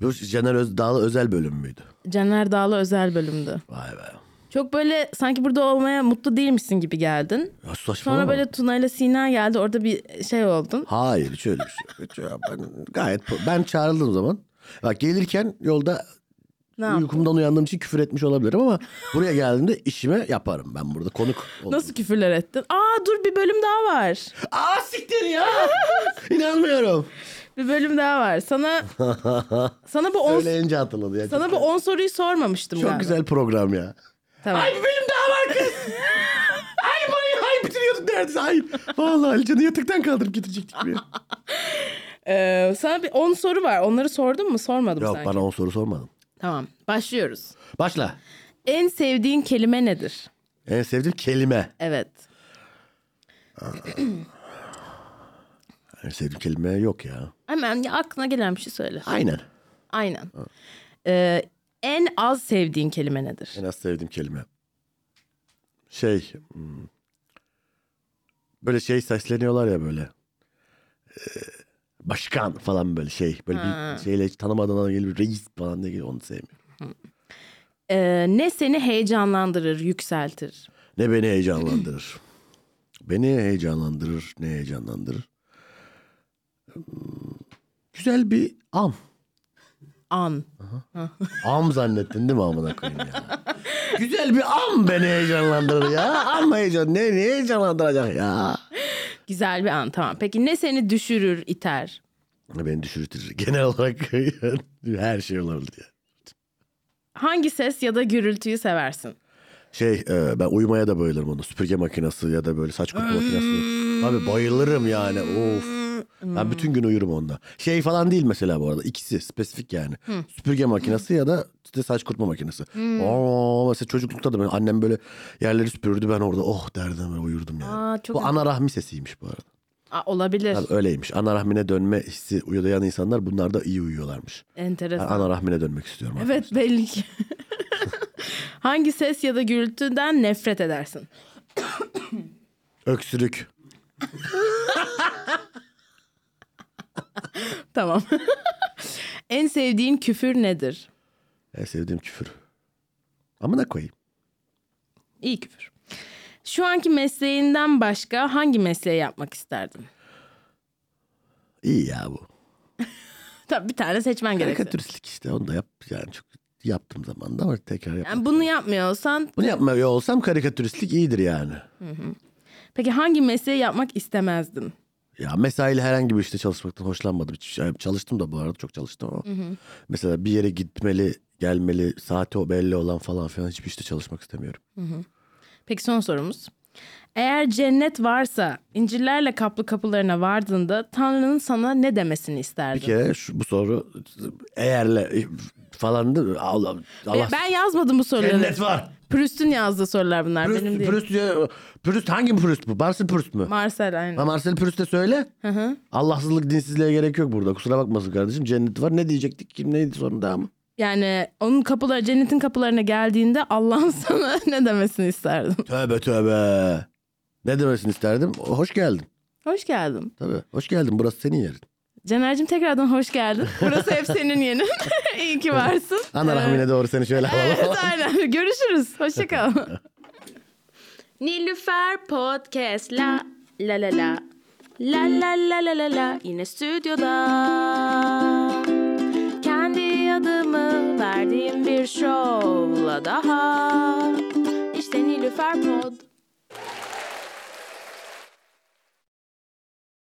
B: Bu Caner Özdağlı özel bölüm müydü?
A: Caner Dağlı özel bölümdü.
B: Vay be.
A: Çok böyle sanki burada olmaya mutlu değilmişsin gibi geldin.
B: Ya saçmalama.
A: Sonra böyle Tuna ile Sina geldi. Orada bir şey oldun.
B: Hayır hiç öyle bir şey. yok. Hiç- ya ben, gayet ben çağrıldığım zaman bak gelirken yolda
A: Ne yaptın?
B: uykumdan uyandığım için küfür etmiş olabilirim ama buraya geldiğimde işime yaparım ben burada konuk oldum.
A: Nasıl küfürler ettin? Aa dur bir bölüm daha var.
B: Aa siktir ya. İnanmıyorum.
A: Bir bölüm daha var. Sana sana bu 10
B: Söyleyince hatırladı ya.
A: sana bu 10 soruyu sormamıştım
B: Çok
A: galiba.
B: güzel program ya.
A: Tamam.
B: Ay bir bölüm daha var kız. ay ay ay bitiriyorduk neredeyse. Ay. Vallahi Alican'ı yataktan kaldırıp getirecektik bir.
A: Ee, sana bir 10 soru var. Onları sordun mu? Sormadım
B: Yok
A: sanki.
B: bana o soru sormadın.
A: Tamam. Başlıyoruz.
B: Başla.
A: En sevdiğin kelime nedir?
B: En sevdiğim kelime.
A: Evet.
B: En sevdiğim kelime yok ya.
A: Hemen ya aklına gelen bir şey söyle.
B: Aynen.
A: Aynen. Ee, en az sevdiğin kelime nedir?
B: En az sevdiğim kelime. Şey. hmm, Böyle şey sesleniyorlar ya böyle. Ee, Başkan falan böyle şey. Böyle
A: Ha.
B: bir şeyle hiç tanımadan adam geliyor. Reis falan diye geliyor. Onu sevmiyorum.
A: Ee, ne seni heyecanlandırır, yükseltir?
B: Ne beni heyecanlandırır? beni heyecanlandırır. Ne heyecanlandırır? Hmm, Güzel bir am.
A: An.
B: Am zannettin değil mi amına koyayım ya? Güzel bir an beni heyecanlandırır ya. An heyecan. Ne, ne heyecanlandıracak ya?
A: Güzel bir an tamam. Peki ne seni düşürür iter?
B: Beni düşürtür. Genel olarak her şey olabilir ya.
A: Hangi ses ya da gürültüyü seversin?
B: Şey e, ben uyumaya da bayılırım onu. Süpürge makinesi ya da böyle saç kurutma makinesi. Abi bayılırım yani. Of. Ben bütün gün uyurum onda. Şey falan değil mesela bu arada. İkisi spesifik yani. Süpürge makinesi ya da işte saç kurutma makinesi. Aa, mesela çocuklukta da ben annem böyle yerleri süpürürdü ben orada oh derdim ve uyurdum yani.
A: Aa, çok
B: bu ana rahmi sesiymiş bu arada.
A: Aa, olabilir.
B: Abi öyleymiş. Ana rahmine dönme hissi uyuyan insanlar bunlar da iyi uyuyorlarmış. Ben
A: Enteresan.
B: ana rahmine dönmek istiyorum. artık.
A: Evet belli ki. Hangi ses ya da gürültüden nefret edersin?
B: Öksürük.
A: Tamam. en sevdiğin küfür nedir?
B: En sevdiğim küfür. Amına koyayım.
A: İyi küfür. Şu anki mesleğinden başka hangi mesleği yapmak isterdin?
B: İyi ya bu.
A: Tabii bir tane seçmen gerekiyor.
B: Karikatüristlik işte onu da yap yani çok yaptım zamanında ama tekrar yap.
A: Yani bunu yapmıyorsan
B: Bunu yapmıyor olsam karikatüristlik iyidir yani.
A: peki hangi mesleği yapmak istemezdin?
B: Ya mesaili herhangi bir işte çalışmaktan hoşlanmadım. Hiç, yani çalıştım da bu arada çok çalıştım ama. Mesela bir yere gitmeli, gelmeli, saati o belli olan falan filan hiçbir işte çalışmak istemiyorum.
A: Peki son sorumuz. Eğer cennet varsa incirlerle kaplı kapılarına vardığında Tanrı'nın sana ne demesini
B: Bir
A: isterdin?
B: kere şu, bu soru eğerle falan da Allah Allah.
A: Ben yazmadım bu soruları.
B: Cennet var.
A: Prüst'ün yazdığı sorular bunlar benim
B: Prüst,
A: değil.
B: Prüst, diyor- Prüst hangi Prüst bu? Marcel Prüst mü?
A: Marcel aynen.
B: Ha Marcel Proust'e söyle. Allahsızlık dinsizliğe gerek yok burada. Kusura bakmasın kardeşim. Cennet var. Ne diyecektik? Kim neydi sonunda ama?
A: Yani onun kapıları cennetin kapılarına geldiğinde Allah'ın sana ne demesini isterdin?
B: Tövbe tövbe. Ne demesini isterdim? Hoş geldin.
A: Hoş geldin.
B: Tabii. Hoş geldin. Burası senin yerin.
A: Caner'cim tekrardan hoş geldin. Burası hep senin yerin. İyi ki varsın. Ee,
B: Ana rahmine doğru seni şöyle alalım.
A: Evet aynen. Görüşürüz. Hoşça kal.
C: Nilüfer Podcast la la la la la la la la la la yine stüdyoda kendi adımı verdiğim bir şovla daha işte Nilüfer Pod.